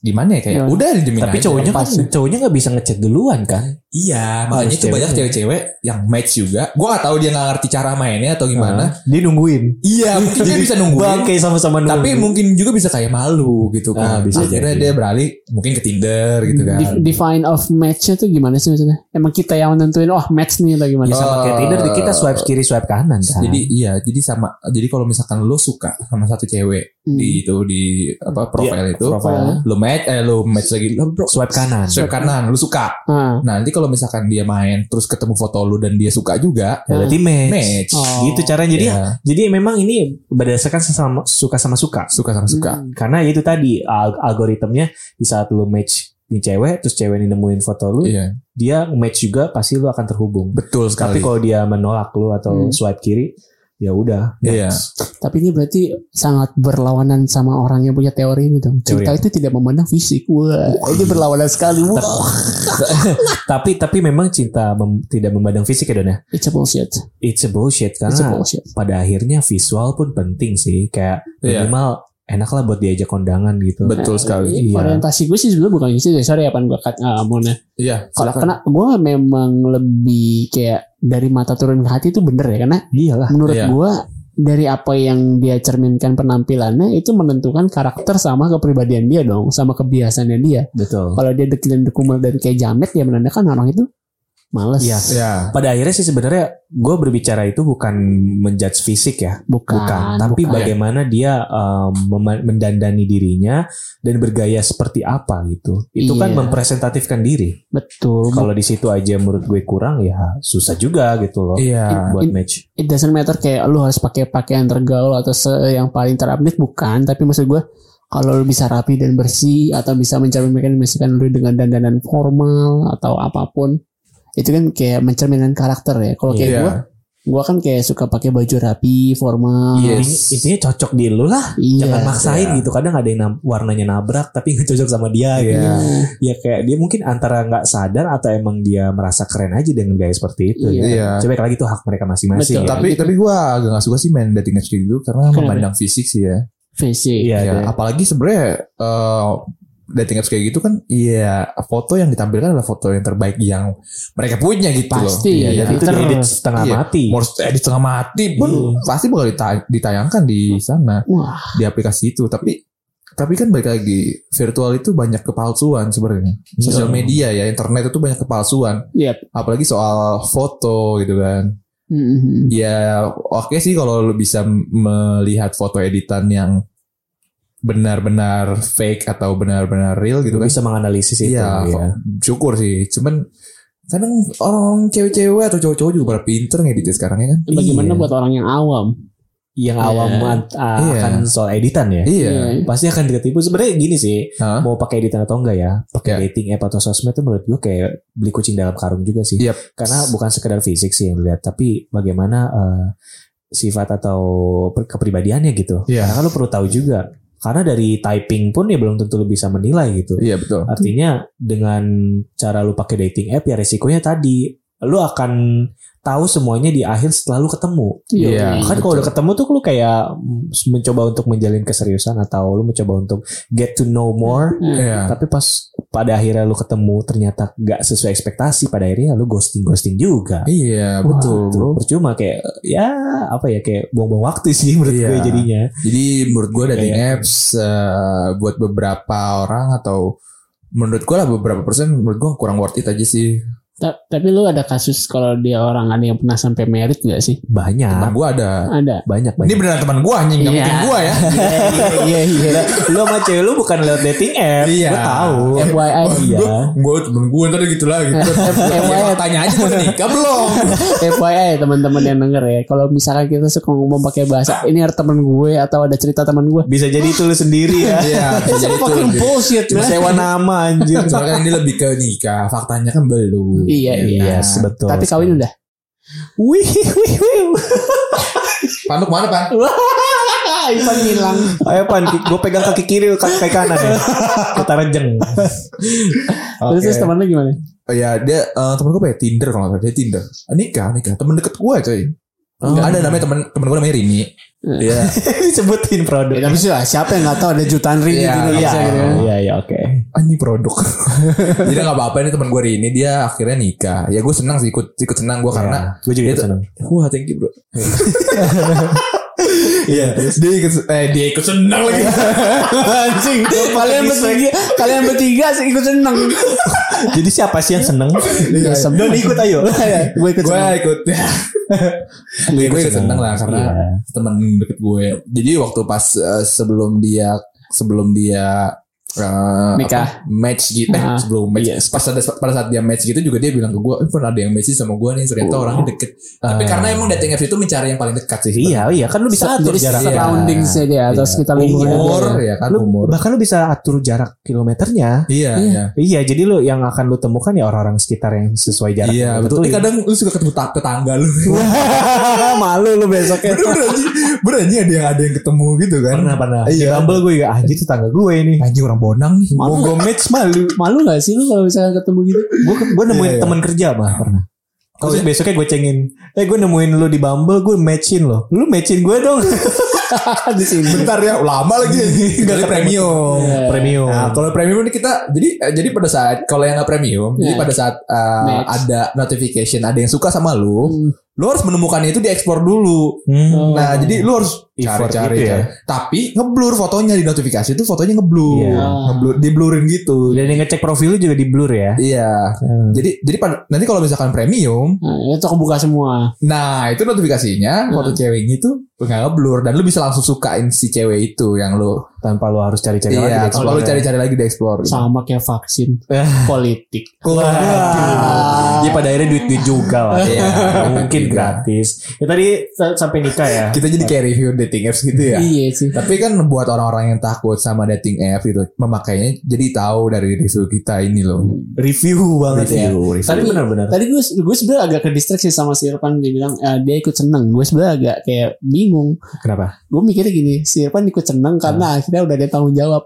Speaker 1: gimana ya kayak
Speaker 3: Gimana?
Speaker 1: udah dijamin
Speaker 2: Iya. tapi
Speaker 1: aja.
Speaker 2: cowoknya kan
Speaker 3: pasti.
Speaker 2: cowoknya nggak bisa ngechat duluan kan.
Speaker 1: iya makanya
Speaker 2: Harus
Speaker 1: itu banyak
Speaker 2: ceweknya.
Speaker 1: cewek-cewek yang match juga gua nggak tahu dia nggak ngerti cara mainnya atau gimana
Speaker 2: Ah. Dia nungguin.
Speaker 1: iya mungkin dia bisa nungguin
Speaker 2: Bangke sama-sama nungguin.
Speaker 1: tapi mungkin juga bisa kayak malu gitu kan
Speaker 2: Ah, bisa
Speaker 1: akhirnya
Speaker 2: jadi.
Speaker 1: dia beralih mungkin ke Tinder gitu kan
Speaker 3: Def- Hmm. define of matchnya tuh gimana sih maksudnya? Emang kita yang nentuin oh match nih atau gimana?
Speaker 2: Ya sama kayak
Speaker 1: Eh,
Speaker 2: Tinder kita swipe kiri swipe kanan kan.
Speaker 1: Jadi iya, jadi sama jadi kalau misalkan lo suka sama satu cewek
Speaker 3: Hmm.
Speaker 1: di itu di apa profil
Speaker 2: Iya,
Speaker 1: itu,
Speaker 2: profilnya.
Speaker 1: lo match eh lo match lagi lo bro,
Speaker 2: swipe kanan.
Speaker 1: swipe kanan lo suka.
Speaker 3: Ah.
Speaker 1: Nah, nanti kalau misalkan dia main terus ketemu foto lo dan dia suka juga,
Speaker 2: Ya, berarti match.
Speaker 1: match.
Speaker 3: Oh.
Speaker 2: Gitu caranya jadi
Speaker 1: Iya,
Speaker 2: jadi memang ini berdasarkan sesama suka sama suka.
Speaker 1: suka sama suka.
Speaker 3: Hmm.
Speaker 2: Karena itu tadi al- algoritmnya di saat lu match di cewek terus cewek ini nemuin foto lu,
Speaker 1: Iya,
Speaker 2: dia match juga pasti lu akan terhubung.
Speaker 1: betul
Speaker 2: Tapi
Speaker 1: sekali.
Speaker 2: kalau dia menolak lu atau
Speaker 3: Hmm.
Speaker 2: swipe kiri, ya udah.
Speaker 1: Iya.
Speaker 3: Tapi ini berarti sangat berlawanan sama orang yang punya teori ini dong.
Speaker 2: Teori
Speaker 3: Cinta itu tidak memandang fisik. Wah, ini berlawanan sekali. Wah,
Speaker 2: tapi tapi memang cinta mem- tidak memandang fisik ya Don ya.
Speaker 3: it's a bullshit.
Speaker 2: It's a bullshit karena
Speaker 3: It's a bullshit.
Speaker 2: pada akhirnya visual pun penting sih. Kayak
Speaker 1: Iya.
Speaker 2: minimal enak lah buat diajak kondangan gitu.
Speaker 1: Betul sekali.
Speaker 3: Ini
Speaker 2: Iya.
Speaker 3: Orientasi gue sih sebenarnya bukan gitu ya. Sorry apa gue cut ah, mau nih.
Speaker 1: Iya,
Speaker 3: Kalau
Speaker 1: silakan.
Speaker 3: kena gue memang lebih kayak dari mata turun ke hati itu bener ya karena
Speaker 2: Iyalah.
Speaker 3: menurut
Speaker 1: Iya.
Speaker 3: gue dari apa yang dia cerminkan penampilannya itu menentukan karakter sama kepribadian dia dong sama kebiasaannya dia
Speaker 2: Betul.
Speaker 3: kalau dia dekilin dekumel dan kayak jamet ya menandakan orang itu males
Speaker 2: Iya.
Speaker 1: Iya.
Speaker 2: Pada akhirnya sih sebenarnya gue berbicara itu bukan menjudge fisik ya,
Speaker 3: bukan,
Speaker 2: bukan. Tapi
Speaker 3: bukan.
Speaker 2: bagaimana dia um, mema- mendandani dirinya dan bergaya seperti apa gitu. Itu kan
Speaker 3: Iya.
Speaker 2: mempresentatifkan diri.
Speaker 3: betul
Speaker 2: Kalau di situ aja menurut gue kurang ya susah juga gitu loh
Speaker 1: Iya.
Speaker 2: buat
Speaker 3: In-
Speaker 2: match.
Speaker 3: it doesn't matter kayak lu harus pakai pakaian tergaul atau se- yang paling terupdate bukan tapi maksud gue kalau lu bisa rapi dan bersih atau bisa mencerminkan misalkan lu dengan dandanan formal atau apapun itu kan kayak mencerminkan karakter ya kalau kayak
Speaker 1: Iya.
Speaker 3: gue gue kan kayak suka pakai baju rapi formal
Speaker 1: Yes.
Speaker 2: Intinya, intinya cocok di lu lah.
Speaker 3: iya
Speaker 2: Jangan maksain
Speaker 1: Iya.
Speaker 2: gitu. Kadang ada yang nam- warnanya nabrak tapi nggak cocok sama dia gitu.
Speaker 1: Iya.
Speaker 2: Ya kayak dia mungkin antara nggak sadar atau emang dia merasa keren aja dengan gaya seperti itu. gitu.
Speaker 3: Iya.
Speaker 1: Iya.
Speaker 2: Coba lagi tuh hak mereka masing-masing.
Speaker 3: Betul.
Speaker 2: ya.
Speaker 1: Tapi tapi gua agak gak suka sih main dating apps kayak gitu karena
Speaker 3: Kenapa?
Speaker 1: memandang fisik sih ya.
Speaker 3: fisik
Speaker 2: Iya,
Speaker 1: Ya,
Speaker 2: iya.
Speaker 1: apalagi sebenarnya eh, dating apps kayak gitu kan iya foto yang ditampilkan adalah foto yang terbaik yang mereka punya gitu loh.
Speaker 3: Pasti,
Speaker 1: Iya,
Speaker 3: iya.
Speaker 1: jadi
Speaker 2: itu
Speaker 3: Ter-
Speaker 2: diedit setengah
Speaker 1: Iya.
Speaker 2: mati.
Speaker 1: mau edit setengah mati pun
Speaker 2: Iya.
Speaker 1: pasti bakal dita- ditayangkan di sana
Speaker 3: wah
Speaker 1: di aplikasi itu tapi tapi kan balik lagi virtual itu banyak kepalsuan sebenarnya sosial
Speaker 2: Betul.
Speaker 1: media ya internet itu banyak kepalsuan
Speaker 3: Yap.
Speaker 1: apalagi soal foto gitu kan
Speaker 3: Mhm.
Speaker 1: Ya oke sih kalau lu bisa melihat foto editan yang benar-benar fake atau benar-benar real gitu
Speaker 2: Lu
Speaker 1: kan.
Speaker 2: bisa menganalisis itu
Speaker 1: Iya,
Speaker 2: ya.
Speaker 1: syukur sih. Cuman kadang orang cewek-cewek atau cowok-cowok juga pada pinter ngeditnya sekarang ya kan.
Speaker 3: bagaimana
Speaker 2: Iya.
Speaker 3: buat orang yang awam
Speaker 2: yang awam
Speaker 3: Iya.
Speaker 2: an- a-
Speaker 1: Iya.
Speaker 2: akan soal editan ya.
Speaker 1: Iya.
Speaker 2: Pasti akan diketipu. Sebenarnya gini sih,
Speaker 1: Hah?
Speaker 2: mau pakai editan atau enggak ya, pakai
Speaker 1: Iya.
Speaker 2: dating app atau sosmed itu menurut gue kayak beli kucing dalam karung juga sih.
Speaker 1: Yap.
Speaker 2: Karena bukan sekedar fisik sih yang dilihat, tapi bagaimana eh, sifat atau per- kepribadiannya gitu.
Speaker 1: Iya.
Speaker 2: Karena kan lu perlu tahu juga. Karena dari typing pun ya belum tentu lu bisa menilai gitu.
Speaker 1: Iya betul.
Speaker 2: Artinya dengan cara lu pakai dating app ya resikonya tadi lu akan tahu semuanya di akhir setelah lu ketemu.
Speaker 1: Iya. betul.
Speaker 2: Kan kalau udah ketemu tuh lu kayak mm, mencoba untuk menjalin keseriusan atau lu mencoba untuk get to know more.
Speaker 3: Iya.
Speaker 1: Iya.
Speaker 2: Tapi pas pada akhirnya lu ketemu ternyata nggak sesuai ekspektasi pada akhirnya lu ghosting ghosting juga
Speaker 1: Iya, betul,
Speaker 2: Itu
Speaker 1: Bro.
Speaker 2: percuma kayak ya apa ya kayak buang-buang waktu sih menurut
Speaker 1: Iya.
Speaker 2: gue jadinya
Speaker 1: Jadi menurut gue dating
Speaker 2: Kayak-
Speaker 1: apps eh, buat beberapa orang atau menurut gue lah beberapa persen menurut gue kurang worth it aja sih.
Speaker 3: Ta- tapi lu ada kasus kalau dia orang ada yang pernah sampai merit gak sih?
Speaker 1: Teman
Speaker 2: banyak
Speaker 1: gue ada.
Speaker 3: Ada.
Speaker 2: banyak
Speaker 1: Iya. Ini
Speaker 2: banyak
Speaker 1: beneran teman gue anjing, nggak
Speaker 3: Iya.
Speaker 1: mungkin gue ya.
Speaker 2: iya iya lu sama cewek lu bukan lewat dating app
Speaker 1: Iya.
Speaker 2: gue tahu
Speaker 3: FYI.
Speaker 2: iya
Speaker 1: Gue temen gue ntar gitu lagi.
Speaker 3: FYI.
Speaker 1: Tanya aja udah nikah belum?
Speaker 3: FYI teman-teman yang denger ya. Kalau misalkan kita suka ngomong pakai bahasa ini ada teman gue atau ada cerita teman gue.
Speaker 2: bisa jadi itu lu sendiri ya
Speaker 1: Iya, bisa jadi itu.
Speaker 3: Fucking
Speaker 1: Jadi-
Speaker 3: bullshit
Speaker 2: Cuma
Speaker 3: man.
Speaker 2: sewa nama anjir
Speaker 1: Soalnya kan ini lebih ke nikah, faktanya kan belum.
Speaker 3: Iya, iya.
Speaker 1: Nah,
Speaker 2: Yes, betul.
Speaker 3: Tapi kawin udah.
Speaker 2: Wih, wih, wih.
Speaker 1: Panduk mana pak?
Speaker 3: Ivan Ah, hilang.
Speaker 2: Ayo Pan, gue pegang kaki kiri, kaki kanan ya. Kita rejeng.
Speaker 3: Terus, terus
Speaker 1: Oke.
Speaker 3: teman lu gimana?
Speaker 1: Oh ya dia eh, temen gue pakai Tinder kalau nggak salah dia Tinder Eh, nikah nikah temen deket gue coy
Speaker 2: Oh.
Speaker 1: ada namanya temen temen gue namanya Rini Iya
Speaker 2: Disebutin produk.
Speaker 3: Ya, tapi sih lah, siapa yang gak tahu ada jutaan ringgit
Speaker 1: Iya,
Speaker 3: di
Speaker 2: Iya,
Speaker 3: Indonesia gitu kan.
Speaker 2: iya, iya, oke.
Speaker 1: anjing produk jadi nggak apa-apa ini temen gue Rini dia akhirnya nikah ya gue senang sih ikut ikut senang gue karena
Speaker 2: gue juga
Speaker 1: dia
Speaker 2: ikut
Speaker 1: tuh-
Speaker 2: seneng.
Speaker 1: wah thank you bro Iya, dia ikut, eh, dia ikut senang lagi.
Speaker 3: Anjing, kalian bertiga, kalian bertiga sih ikut seneng.
Speaker 2: Jadi siapa sih yang seneng?
Speaker 3: Iya, seneng.
Speaker 2: Don ikut ayo.
Speaker 3: gue ikut
Speaker 1: gue
Speaker 3: seneng.
Speaker 1: ikut, gue ikut senang lah karena
Speaker 2: Iya.
Speaker 1: teman deket gue. Jadi waktu pas eh, sebelum dia sebelum dia eh, apa,
Speaker 3: Nikah.
Speaker 1: match gitu eh,
Speaker 3: Ah.
Speaker 1: sebelum match
Speaker 2: Yes.
Speaker 1: pas ada pada saat dia match gitu juga dia bilang ke gue eh, pun ada yang match sih sama gue nih ternyata
Speaker 3: Oh.
Speaker 1: orangnya deket tapi
Speaker 2: Ah.
Speaker 1: karena emang dating apps itu mencari yang paling dekat sih
Speaker 2: Iya, iya, kan lu bisa atur
Speaker 3: Jadi
Speaker 2: jarak.
Speaker 3: surrounding
Speaker 1: Iya.
Speaker 3: sih dia
Speaker 1: Iya.
Speaker 3: atau sekitar lingkungan
Speaker 1: umur ya
Speaker 3: dia.
Speaker 1: kan
Speaker 2: Lu,
Speaker 1: umur
Speaker 2: bahkan lu bisa atur jarak kilometernya.
Speaker 1: iya iya
Speaker 2: Iya, jadi lu yang akan lu temukan ya orang-orang sekitar yang sesuai jarak.
Speaker 1: Iya
Speaker 2: yang
Speaker 1: betul. Eh,
Speaker 2: ditentuin.
Speaker 1: kadang lu suka ketemu ta- tetangga lu.
Speaker 2: Malu lu besoknya.
Speaker 1: Bener-bener anjing. Bener anjing ada yang ada yang ketemu gitu kan.
Speaker 2: Pernah, pernah. Di
Speaker 1: Iya.
Speaker 2: Bumble gue juga, anjir tetangga gue ini.
Speaker 1: Anjing orang Bonang nih.
Speaker 2: Mau gue match malu.
Speaker 3: Malu gak sih lu kalau misalkan ketemu gitu?
Speaker 2: gue gue nemuin
Speaker 1: Iya, iya.
Speaker 2: teman kerja mah pernah
Speaker 1: Oh,
Speaker 2: Terus
Speaker 1: iya?
Speaker 2: besoknya gue cengin Eh gue nemuin lu di Bumble Gue matchin lo Lu matchin gue dong
Speaker 1: Iya.
Speaker 3: di sini.
Speaker 1: Bentar ya, lama lagi. Dari premium.
Speaker 3: Iya.
Speaker 2: Premium
Speaker 1: Nah, kalau premium ini kita jadi eh, jadi pada saat kalau yang nggak premium, jadi
Speaker 2: Ya.
Speaker 3: Iya.
Speaker 1: pada saat eh,
Speaker 3: Match.
Speaker 1: ada notification ada yang suka sama lu,
Speaker 3: Hmm.
Speaker 1: lu harus menemukannya itu di ekspor dulu.
Speaker 2: Hmm.
Speaker 3: Oh.
Speaker 1: Nah, jadi lu harus
Speaker 2: Effort
Speaker 1: cari-cari
Speaker 2: gitu ya.
Speaker 1: cari. Tapi ngeblur fotonya di notifikasi itu fotonya ngeblur.
Speaker 2: Iya.
Speaker 1: Ngeblur diblurin gitu.
Speaker 2: Dan yang ngecek profil lu juga di blur ya
Speaker 1: Iya.
Speaker 2: Hmm.
Speaker 1: Jadi jadi pada- nanti kalau misalkan premium,
Speaker 3: Nah, itu kebuka semua.
Speaker 1: Nah itu
Speaker 2: Hmm.
Speaker 1: notifikasinya foto ceweknya itu nggak ngeblur dan lu bisa langsung sukain si cewek itu yang lu
Speaker 2: Tanpa lu harus cari-cari lagi ya.
Speaker 1: iya
Speaker 2: di
Speaker 1: kalau lu
Speaker 2: Explore.
Speaker 1: cari-cari lagi di explore. gitu.
Speaker 3: Sama kayak vaksin politik.
Speaker 2: Wah. Ya pada akhirnya duit-duit juga lah
Speaker 1: Iya.
Speaker 2: Mungkin
Speaker 1: Juga.
Speaker 2: gratis Ya tadi sa- sampai nikah ya
Speaker 1: Kita jadi kayak review dating apps gitu ya.
Speaker 3: Iya sih.
Speaker 1: Tapi kan buat orang-orang yang takut sama dating apps gitu memakainya jadi tahu dari review kita ini loh.
Speaker 2: Review banget ya
Speaker 1: Review, review.
Speaker 2: Tapi benar-benar
Speaker 3: Tadi gue gue sebenarnya agak ke distraksi sama si Irfan dia bilang eh, dia ikut seneng. Gue sebenarnya agak kayak bingung.
Speaker 2: Kenapa?
Speaker 3: Gue mikirnya gini, si Irfan ikut seneng karena akhirnya udah ada tanggung jawab.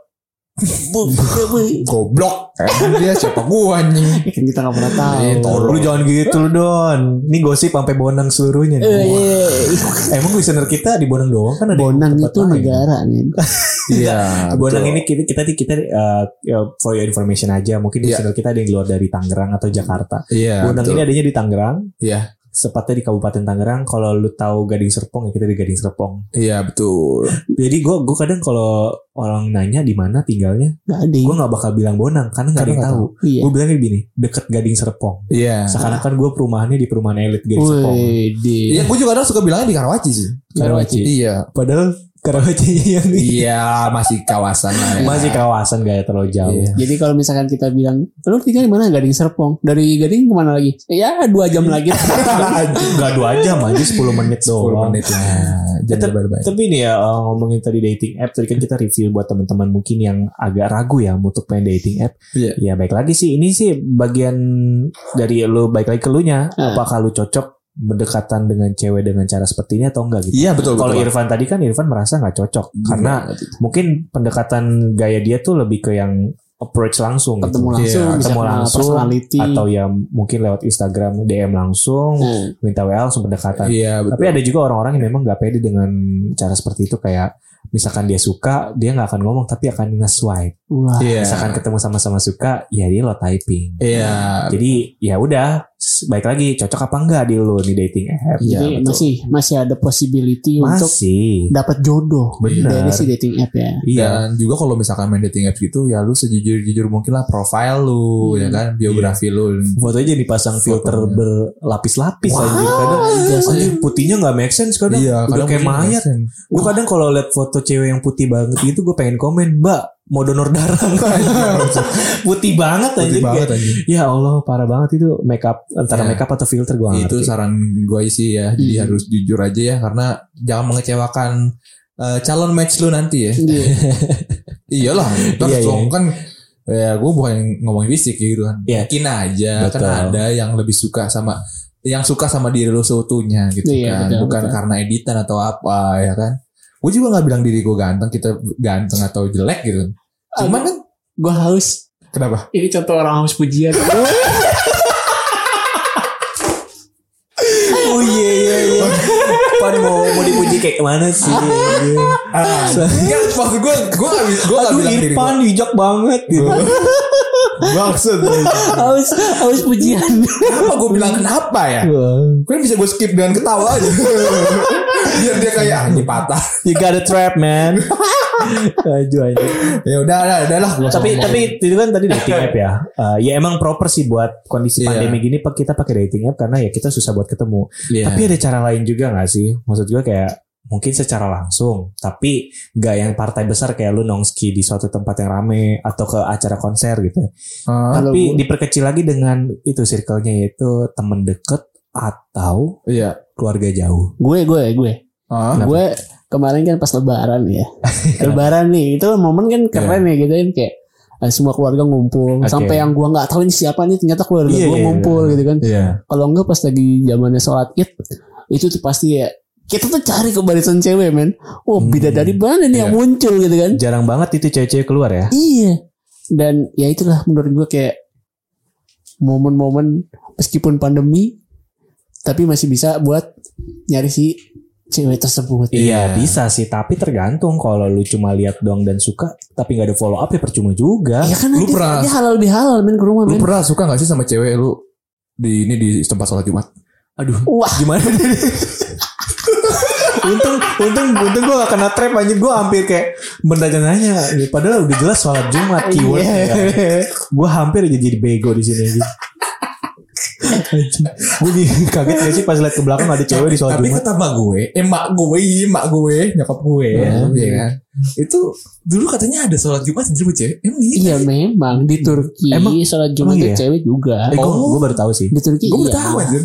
Speaker 3: Bu, bu, bu.
Speaker 1: Goblok. Emang dia siapa gua anjing.
Speaker 3: Ya kan kita gak pernah tahu.
Speaker 1: Iya, tahu.
Speaker 2: Lu jangan gitu lu Don Ini gosip sampai bonang seluruhnya nih.
Speaker 3: Eh, iya, iya.
Speaker 2: Emang listener kita di Bonang doang kan ada yang
Speaker 3: Bonang
Speaker 2: tempat
Speaker 3: itu
Speaker 2: lain.
Speaker 3: negara nih.
Speaker 1: Iya.
Speaker 2: Bonang
Speaker 1: betul.
Speaker 2: ini kita kita kita uh, ya, for your information aja mungkin
Speaker 1: Iya.
Speaker 2: listener kita ada yang di luar dari Tangerang atau Jakarta.
Speaker 1: Iya.
Speaker 2: Bonang
Speaker 1: betul.
Speaker 2: ini adanya di Tangerang.
Speaker 1: Iya.
Speaker 2: Sepatnya di Kabupaten Tangerang. Kalau lu tahu Gading Serpong ya kita di Gading Serpong.
Speaker 1: Iya betul.
Speaker 2: Jadi gua gua kadang kalau orang nanya di mana tinggalnya,
Speaker 3: Gak ada.
Speaker 2: gua nggak bakal bilang Bonang karena nggak ada
Speaker 1: Karena nggak
Speaker 2: yang tahu.
Speaker 3: Iya.
Speaker 2: Gua bilangnya gini, deket Gading Serpong.
Speaker 1: Iya.
Speaker 2: Seakan-akan gua perumahannya di perumahan elit Gading Serpong.
Speaker 3: Wih, di.
Speaker 1: Iya, gue juga kadang suka bilangnya di Karawaci sih.
Speaker 2: Karawaci.
Speaker 1: Iya.
Speaker 2: Padahal Karawaci yang
Speaker 1: Iya, masih kawasan lah. ya.
Speaker 2: masih kawasan gak terlalu jauh.
Speaker 1: Iya.
Speaker 3: Jadi kalau misalkan kita bilang, lu tinggal di mana? Gading Serpong. Dari Gading kemana lagi? Ya dua jam lagi.
Speaker 2: Gak dua jam aja 10
Speaker 1: 10
Speaker 2: menit doang
Speaker 1: menit ya. lah. Jangan
Speaker 2: Tetep-
Speaker 1: lebay-lebay.
Speaker 2: Tapi nih ya uh, ngomongin tadi dating app Tadi kan kita review buat teman-teman mungkin yang agak ragu ya Untuk main dating app
Speaker 1: Iya.
Speaker 2: Ya baik lagi sih Ini sih bagian dari lu Baik lagi ke lu nya
Speaker 3: Ah.
Speaker 2: Apakah lu cocok berdekatan dengan cewek dengan cara seperti ini atau enggak gitu
Speaker 1: Iya betul. Iya.
Speaker 2: Kalau
Speaker 1: betul.
Speaker 2: Irfan tadi kan Irfan gitu. merasa nggak cocok Karena mungkin pendekatan gaya dia tuh lebih ke yang approach langsung gitu.
Speaker 3: Ketemu langsung,
Speaker 1: Iya,
Speaker 3: bisa
Speaker 2: ketemu
Speaker 3: kenal
Speaker 2: langsung,
Speaker 3: personality.
Speaker 2: Atau ya mungkin lewat Instagram DM langsung
Speaker 3: Hmm.
Speaker 2: Minta WA langsung pendekatan
Speaker 1: iya betul.
Speaker 2: tapi ada juga orang-orang yang memang nggak pede dengan cara seperti itu kayak misalkan dia suka dia nggak akan ngomong tapi akan nge-swipe
Speaker 3: Wah.
Speaker 1: Iya.
Speaker 2: misalkan ketemu sama-sama suka ya dia lo typing
Speaker 1: Iya.
Speaker 2: jadi ya udah s- baik lagi cocok apa enggak di lo di dating app
Speaker 1: Iya,
Speaker 3: Jadi
Speaker 1: betul.
Speaker 3: masih masih ada possibility untuk
Speaker 2: masih
Speaker 3: dapat jodoh
Speaker 2: Benar.
Speaker 3: dari si dating app ya.
Speaker 2: iya
Speaker 1: Dan juga kalau misalkan main dating apps gitu ya lu sejujur-jujur mungkin lah profile lu
Speaker 3: Hmm.
Speaker 1: ya kan biografi lu.
Speaker 3: Ya.
Speaker 2: fotonya jadi pasang filter
Speaker 1: Fotonya.
Speaker 2: berlapis-lapis
Speaker 1: Wah,
Speaker 2: anjir kadang
Speaker 3: Iya
Speaker 2: anjir, putihnya nggak make sense kadang
Speaker 1: Iya,
Speaker 2: udah
Speaker 1: kadang
Speaker 2: kayak
Speaker 1: mungkin
Speaker 2: mayat
Speaker 1: nggak
Speaker 2: gue kadang kalau liat foto cewek yang putih banget itu gue pengen komen mbak mau donor darah putih banget
Speaker 1: Iya. Putih
Speaker 2: anjir
Speaker 1: banget
Speaker 2: Kayak,
Speaker 1: anjing.
Speaker 2: ya Allah parah banget itu makeup antara
Speaker 1: Ya.
Speaker 2: makeup atau filter gue
Speaker 1: Itu
Speaker 2: ngerti
Speaker 1: saran gue sih ya. Jadi
Speaker 3: Hmm.
Speaker 1: harus jujur aja ya karena jangan mengecewakan eh, calon match lu nanti ya.
Speaker 3: Iya.
Speaker 1: Iyalah, terus
Speaker 2: Iya, iya.
Speaker 1: dong, kan ya gue bukan ngomongin fisik gitu kan.
Speaker 2: Iya.
Speaker 1: Mungkin aja
Speaker 2: Betul.
Speaker 1: kan ada yang lebih suka sama yang suka sama diri lu seutuhnya gitu kan.
Speaker 3: Iya, betul,
Speaker 1: bukan
Speaker 3: betul.
Speaker 1: karena editan atau apa ya kan. Gue juga nggak bilang diri gue ganteng, kita ganteng atau jelek gitu. Cuman kan
Speaker 3: Gue haus.
Speaker 1: kenapa?
Speaker 3: Ini contoh orang haus pujian.
Speaker 2: oh iya iya iya Pan mau mau dipuji kayak mana sih Anjir.
Speaker 1: Ah, enggak, maksud gue gue gak bisa gue gak
Speaker 2: aduh
Speaker 1: bilang diri
Speaker 2: Irfan bijak banget gitu
Speaker 1: gue. Maksud
Speaker 3: haus haus pujian.
Speaker 1: kenapa gue bilang kenapa ya? Kan bisa gue skip dengan ketawa aja. Biar dia kayak ah, ini patah.
Speaker 2: you got a trap man Aduh, anjir.
Speaker 1: Ya udah, udah, udah lah. gua
Speaker 2: tapi
Speaker 1: sama-
Speaker 2: tapi itu kan tadi dating app ya. Eh, ya emang proper sih buat kondisi
Speaker 1: Iya.
Speaker 2: pandemi gini Pak, kita pakai dating app karena ya kita susah buat ketemu.
Speaker 1: Iya.
Speaker 2: Tapi ada cara lain juga nggak sih? Maksud gue kayak mungkin secara langsung, tapi nggak yang partai besar kayak lu nongski di suatu tempat yang rame atau ke acara konser gitu.
Speaker 1: Ah,
Speaker 3: Kalau
Speaker 2: tapi
Speaker 3: gua-
Speaker 2: diperkecil lagi dengan itu circle-nya yaitu temen deket atau
Speaker 1: iya.
Speaker 2: keluarga jauh.
Speaker 3: Gue gue gue.
Speaker 1: Ah,
Speaker 2: Kenapa?
Speaker 3: Gue kemarin kan pas lebaran ya. lebaran nih itu momen kan keren ya gitu kan kayak eh, semua keluarga ngumpul
Speaker 2: Iya. Oke.
Speaker 3: sampai yang gua nggak tahu ini siapa nih ternyata keluarga
Speaker 2: Iya,
Speaker 3: gua
Speaker 2: iya,
Speaker 3: ngumpul
Speaker 2: iya.
Speaker 3: gitu kan
Speaker 1: iya.
Speaker 3: kalau enggak pas lagi zamannya sholat id itu tuh pasti ya kita tuh cari ke barisan cewek men oh
Speaker 1: Hmm.
Speaker 3: beda dari mana nih yang
Speaker 2: Iya.
Speaker 3: muncul gitu kan
Speaker 2: Jarang banget itu cewek-cewek keluar ya.
Speaker 3: iya dan ya itulah menurut gue kayak momen-momen meskipun pandemi tapi masih bisa buat nyari si cewek tersebut
Speaker 2: Iya bisa sih tapi tergantung kalau lu cuma lihat doang dan suka tapi nggak ada follow up ya percuma juga.
Speaker 3: Ya kan
Speaker 1: Lu
Speaker 3: nanti
Speaker 1: pernah-
Speaker 3: dia halal bihalal men ke rumah
Speaker 1: Lu
Speaker 2: kan-
Speaker 3: men.
Speaker 1: pernah suka gak sih sama cewek lu di ini di tempat sholat Jumat?
Speaker 2: Aduh
Speaker 3: Wah.
Speaker 2: gimana? untung untung untung gue gak kena trap anjir gue hampir kayak mendagangannya padahal udah jelas sholat Jumat keyword gue hampir aja jadi bego di sini aja. gue kaget gak sih pas liat ke belakang ada cewek di sholat
Speaker 1: Tapi
Speaker 2: Jumat.
Speaker 1: kata mak gue, emak gue, emak gue, nyokap gue,
Speaker 2: Hmm.
Speaker 1: ya kan? Itu dulu katanya ada sholat Jumat sendiri sama cewek. Emang iya?
Speaker 3: Iya memang di Turki
Speaker 2: Emang-
Speaker 3: sholat Jumat
Speaker 2: emang
Speaker 3: tuh
Speaker 2: iya?
Speaker 3: cewek juga.
Speaker 2: Eh, gue
Speaker 1: Oh.
Speaker 2: gue baru tahu sih.
Speaker 3: Di Turki
Speaker 1: Gue baru
Speaker 3: iya.
Speaker 1: tahu anjir.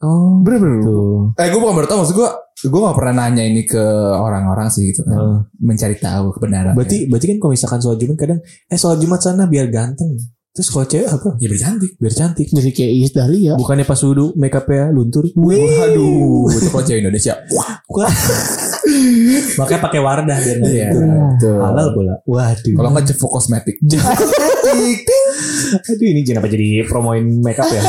Speaker 2: Oh.
Speaker 1: Bener bener.
Speaker 2: Tuh.
Speaker 1: Eh gue bukan baru tahu maksud gue. Gue gak pernah nanya ini ke orang-orang sih gitu kan.
Speaker 2: Oh.
Speaker 1: Mencari tahu kebenaran.
Speaker 2: Berarti berarti kan kalau misalkan sholat Jumat kadang eh sholat Jumat sana biar ganteng. Terus kalau cewek apa?
Speaker 1: ya biar cantik.
Speaker 2: Biar cantik.
Speaker 3: Jadi kayak Iis Dahlia.
Speaker 2: Bukannya pas wudhu make upnya luntur.
Speaker 1: Waduh, itu kalau cewek Indonesia. Wah,
Speaker 2: Makanya pakai wardah biar
Speaker 1: iya.
Speaker 2: luntur.
Speaker 1: Betul.
Speaker 2: Halal bola. Waduh.
Speaker 1: Kalau nggak cepuk kosmetik.
Speaker 2: Aduh ini kenapa jadi promoin makeup ya?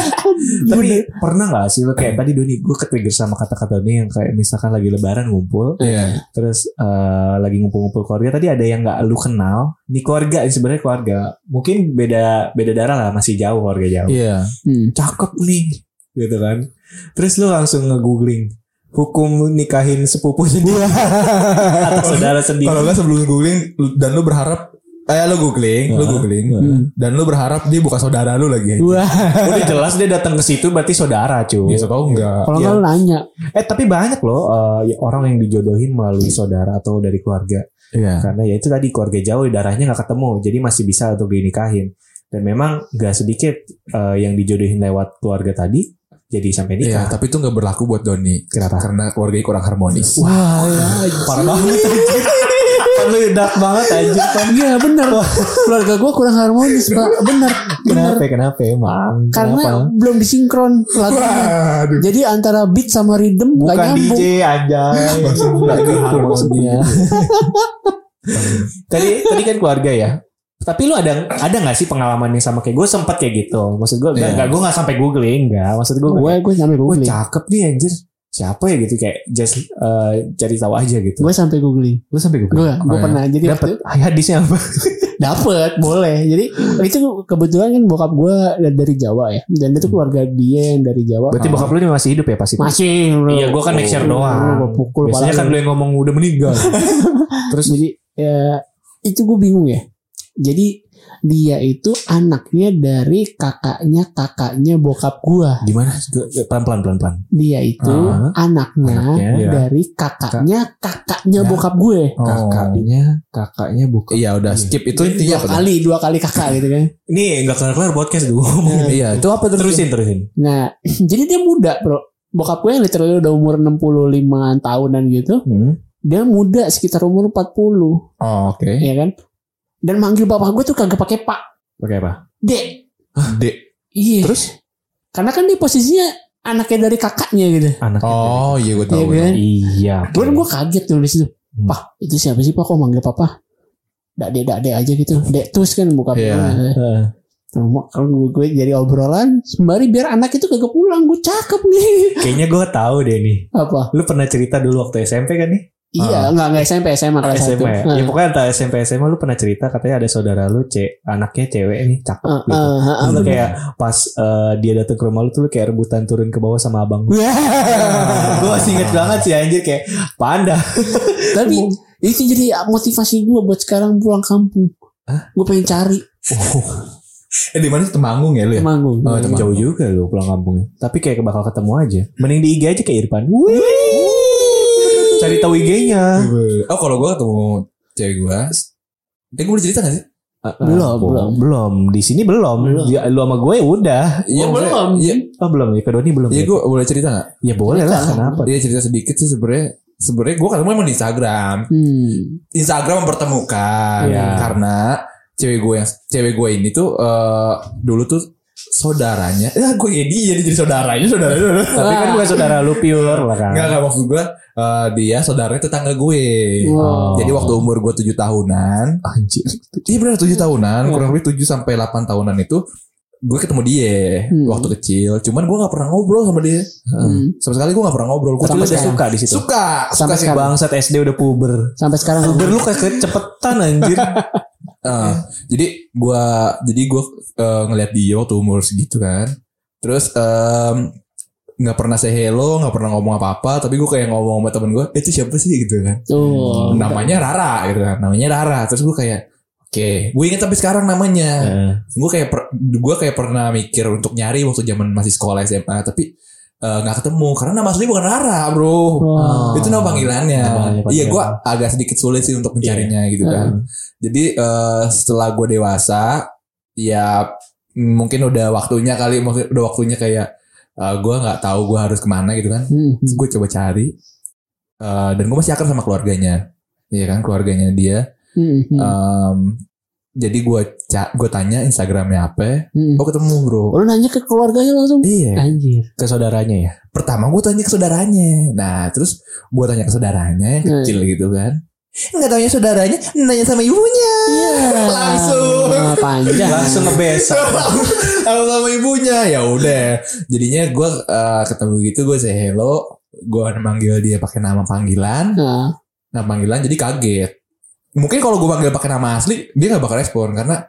Speaker 2: Tapi pernah nggak sih lo kayak tadi Doni gue ketrigger sama kata-kata Doni yang kayak misalkan lagi Lebaran ngumpul,
Speaker 1: Iya.
Speaker 2: terus eh, lagi ngumpul-ngumpul keluarga tadi ada yang nggak lu kenal, ini keluarga ini sebenarnya keluarga, mungkin beda beda darah lah masih jauh keluarga jauh.
Speaker 1: Iya.
Speaker 3: Hmm.
Speaker 2: cakep nih gitu kan terus lu langsung nge-googling hukum nikahin sepupunya dia atau Iya. saudara
Speaker 1: Kalau
Speaker 2: sendiri
Speaker 1: nggak sebelum googling lu- dan lu berharap eh lu googling, lu
Speaker 2: Nah.
Speaker 1: googling
Speaker 3: Hmm.
Speaker 1: dan lu berharap dia bukan saudara lu lagi.
Speaker 3: Wah,
Speaker 2: udah jelas dia datang ke situ berarti saudara cuy
Speaker 1: Ya tau enggak.
Speaker 3: kalau nggak
Speaker 2: Iya.
Speaker 3: lu nanya,
Speaker 2: eh tapi banyak loh eh, ya orang yang dijodohin melalui saudara atau dari keluarga
Speaker 1: Iya.
Speaker 2: karena ya itu tadi keluarga jauh darahnya nggak ketemu jadi masih bisa untuk dinikahin dan memang nggak sedikit eh, yang dijodohin lewat keluarga tadi jadi sampai
Speaker 1: Iya,
Speaker 2: nikah
Speaker 1: tapi itu nggak berlaku buat Doni
Speaker 2: kenapa
Speaker 1: karena keluarganya kurang harmonis.
Speaker 2: wah Ah, iya. parah banget anjir Kan lu dark banget anjir Pan.
Speaker 3: iya bener. Keluarga gue kurang harmonis, pak. Bener, bener.
Speaker 2: Kenapa ya, kenapa emang?
Speaker 3: Karena
Speaker 2: Kenapa?
Speaker 3: belum disinkron lagunya.
Speaker 1: Aduh.
Speaker 3: Jadi antara beat sama rhythm
Speaker 2: bukan
Speaker 3: nggak nyambung.
Speaker 2: DJ aja.
Speaker 1: Lagi harmonia.
Speaker 2: tadi tadi kan keluarga ya. Tapi lu ada ada nggak sih pengalaman yang sama kayak gue sempet kayak gitu? Maksud gue
Speaker 1: Iya.
Speaker 2: enggak gue nggak sampai googling enggak. Maksud gue
Speaker 3: Gue gue nyampe
Speaker 2: gue
Speaker 3: googling.
Speaker 2: cakep nih anjir. siapa ya gitu kayak just eh, cari tahu aja gitu.
Speaker 3: Gue sampai googling.
Speaker 2: Lu sampai gue
Speaker 3: Gue
Speaker 1: Oh, ya.
Speaker 3: pernah jadi
Speaker 2: dapat
Speaker 3: waktu
Speaker 2: hadisnya apa?
Speaker 3: Dapet boleh Jadi itu kebetulan kan bokap gue dari Jawa ya Dan itu keluarga dia yang dari Jawa
Speaker 2: Berarti bokap lu ini masih hidup ya pas itu?
Speaker 3: Masih bro.
Speaker 2: Iya, gua kan make sure doang.
Speaker 3: Gua pukul
Speaker 2: Biasanya
Speaker 3: pala
Speaker 2: kan
Speaker 3: lu.
Speaker 2: lu yang ngomong udah meninggal.
Speaker 3: Terus jadi ya, Itu gue bingung ya Jadi dia itu anaknya dari kakaknya kakaknya bokap gua
Speaker 2: Gimana? Pelan-pelan pelan-pelan.
Speaker 3: dia itu
Speaker 1: Ah,
Speaker 3: anaknya
Speaker 2: anaknya. Oh.
Speaker 3: dari kakaknya
Speaker 1: Ya.
Speaker 3: kakaknya bokap gue
Speaker 2: Kakaknya, kakaknya buka.
Speaker 1: Iya udah
Speaker 2: Iya.
Speaker 1: skip itu intinya
Speaker 3: dua
Speaker 1: apa? tuh?
Speaker 3: kali dua kali kakak gitu kan
Speaker 2: Ini nggak kelar-kelar podcast gue ngomongin.
Speaker 1: Iya itu apa terus?
Speaker 2: Terusin terusin.
Speaker 3: nah jadi dia muda bro bokap gue yang literally udah umur 65 tahunan gitu
Speaker 2: Hmm?
Speaker 3: dia muda sekitar umur 40
Speaker 1: Oh, Oke.
Speaker 3: ya kan dan manggil bapak gue tuh kagak pakai pak
Speaker 2: Pakai apa?
Speaker 3: dek
Speaker 1: Ah, D.
Speaker 3: iya
Speaker 2: Terus?
Speaker 3: karena kan dia posisinya anaknya dari kakaknya gitu
Speaker 2: Anak.
Speaker 1: Oh iya gue tahu.
Speaker 3: Iya,
Speaker 1: gua tahu.
Speaker 3: kan?
Speaker 2: Iya.
Speaker 3: gue gue kaget tuh di situ
Speaker 2: Hmm.
Speaker 3: pak itu siapa sih pak kok manggil papa dade dade aja gitu dek tus kan bokap
Speaker 1: Iya.
Speaker 3: gue
Speaker 2: Heeh.
Speaker 3: Cuma kalau gue, gue jadi obrolan sembari biar anak itu kagak pulang gue cakep nih
Speaker 2: Kayaknya gue tahu deh nih.
Speaker 3: apa
Speaker 2: Lu pernah cerita dulu waktu SMP kan nih?
Speaker 3: iya nggak nggak SMP SMA kelas satu
Speaker 2: SMA ya?
Speaker 3: Nah,
Speaker 2: Ya pokoknya antara SMP SMA lu pernah cerita katanya ada saudara lu ce anaknya cewek nih cakep
Speaker 3: eh,
Speaker 2: gitu.
Speaker 3: eh, eh,
Speaker 2: Lu
Speaker 3: bener.
Speaker 2: kayak pas eh, dia datang ke rumah lu tuh lu kayak rebutan turun ke bawah sama abang lu. gue masih inget banget sih anjir kayak panda.
Speaker 3: tapi itu jadi motivasi gue buat sekarang pulang kampung gue pengen cari
Speaker 1: Eh di mana sih Temanggung ya lu ya?
Speaker 3: Temanggung
Speaker 1: Oh, Temanggung.
Speaker 2: Jauh juga lu pulang kampungnya. Tapi kayak bakal ketemu aja. Mending di IG aja kayak Irfan. Wuih. Cari tahu IG-nya.
Speaker 1: Oh kalau gue ketemu cewek gue. Eh gue boleh cerita gak sih?
Speaker 2: belum, belum, belum. Di sini belum.
Speaker 3: Belum.
Speaker 2: Ya, lu sama gue udah.
Speaker 1: Iya
Speaker 3: Oh,
Speaker 1: boleh.
Speaker 3: belum.
Speaker 1: Iya
Speaker 2: Oh, belum. Ya, kedua ini belum.
Speaker 1: iya,
Speaker 3: Gitu.
Speaker 2: Ya,
Speaker 1: gue boleh cerita gak?
Speaker 2: ya boleh lah. Kenapa?
Speaker 1: Iya cerita sedikit sih sebenarnya. Sebenarnya gue ketemu emang di Instagram.
Speaker 3: Hmm.
Speaker 1: Instagram mempertemukan
Speaker 2: Iya.
Speaker 1: karena cewek gue yang cewek gue ini tuh eh, dulu tuh saudaranya. Ya gue jadi jadi jadi saudaranya saudaranya.
Speaker 3: Iya.
Speaker 1: saudaranya.
Speaker 2: Tapi kan bukan saudara lu pure lah kan.
Speaker 1: Enggak enggak maksud gue eh, dia saudaranya tetangga gue.
Speaker 2: Oh.
Speaker 3: Wow.
Speaker 1: Jadi waktu umur gue 7 tahunan,
Speaker 2: Anjir.
Speaker 1: iya benar 7 tahunan,
Speaker 3: Iya.
Speaker 1: kurang lebih 7 sampai 8 tahunan itu gue ketemu dia
Speaker 3: Hmm.
Speaker 1: waktu kecil. Cuman gue nggak pernah ngobrol sama dia.
Speaker 3: Hmm.
Speaker 1: Sama sekali gue nggak pernah ngobrol. Gue
Speaker 2: Tapi
Speaker 1: cuma
Speaker 2: lu
Speaker 3: Sampai
Speaker 2: udah
Speaker 1: suka
Speaker 3: sekarang.
Speaker 2: suka di situ.
Speaker 1: suka, suka
Speaker 3: Sampai
Speaker 1: sih.
Speaker 3: sekarang.
Speaker 2: Bangsat SD udah puber.
Speaker 3: sampai sekarang
Speaker 2: Puber lu kayak kecepetan anjir.
Speaker 1: Eh, jadi gue jadi gue ngeliat dia waktu umur segitu kan. Terus em, nggak pernah say hello, nggak pernah ngomong apa-apa. Tapi gue kayak ngomong sama temen gue, eh, itu siapa sih gitu kan.
Speaker 3: tuh
Speaker 1: namanya Rara gitu kan. Namanya Rara. Terus gue kayak oke, gue inget sampai sekarang namanya.
Speaker 2: Eh,
Speaker 1: Gue kayak per- gue kayak pernah mikir untuk nyari waktu zaman masih sekolah SMA tapi eh, nggak ketemu karena nama asli bukan Rara, Bro.
Speaker 3: Wah.
Speaker 1: Itu nama panggilannya.
Speaker 2: Nama panggilannya.
Speaker 1: Iya, gue agak sedikit sulit sih untuk mencarinya gitu kan. Jadi eh, setelah gue dewasa, ya mm, mungkin udah waktunya kali, mungkin udah waktunya kayak eh, gue nggak tahu gue harus kemana gitu kan.
Speaker 3: Hmm.
Speaker 1: Terus gue coba cari Eh, dan gue masih akrab sama keluarganya, iya kan keluarganya dia.
Speaker 3: Hmm. Hmm.
Speaker 1: Em, jadi gue ca- gue tanya Instagramnya apa,
Speaker 3: Hmm.
Speaker 1: oh ketemu bro.
Speaker 3: lu nanya ke keluarganya langsung
Speaker 1: Iya.
Speaker 3: anjir
Speaker 2: ke saudaranya ya.
Speaker 1: Pertama gue tanya ke saudaranya. Nah terus gue tanya ke saudaranya yang
Speaker 3: Hmm.
Speaker 1: kecil gitu kan. Nggak tanya saudaranya, nanya sama ibunya.
Speaker 3: Iya.
Speaker 1: Langsung.
Speaker 3: Ah, panjang
Speaker 2: Langsung ngebesak.
Speaker 1: Sama sama ibunya ya udah. Jadinya gue eh, ketemu gitu gue say hello, gue manggil dia pakai nama panggilan.
Speaker 3: Nah,
Speaker 1: Nah panggilan jadi kaget. Mungkin kalau gue panggil pakai nama asli dia nggak bakal respon karena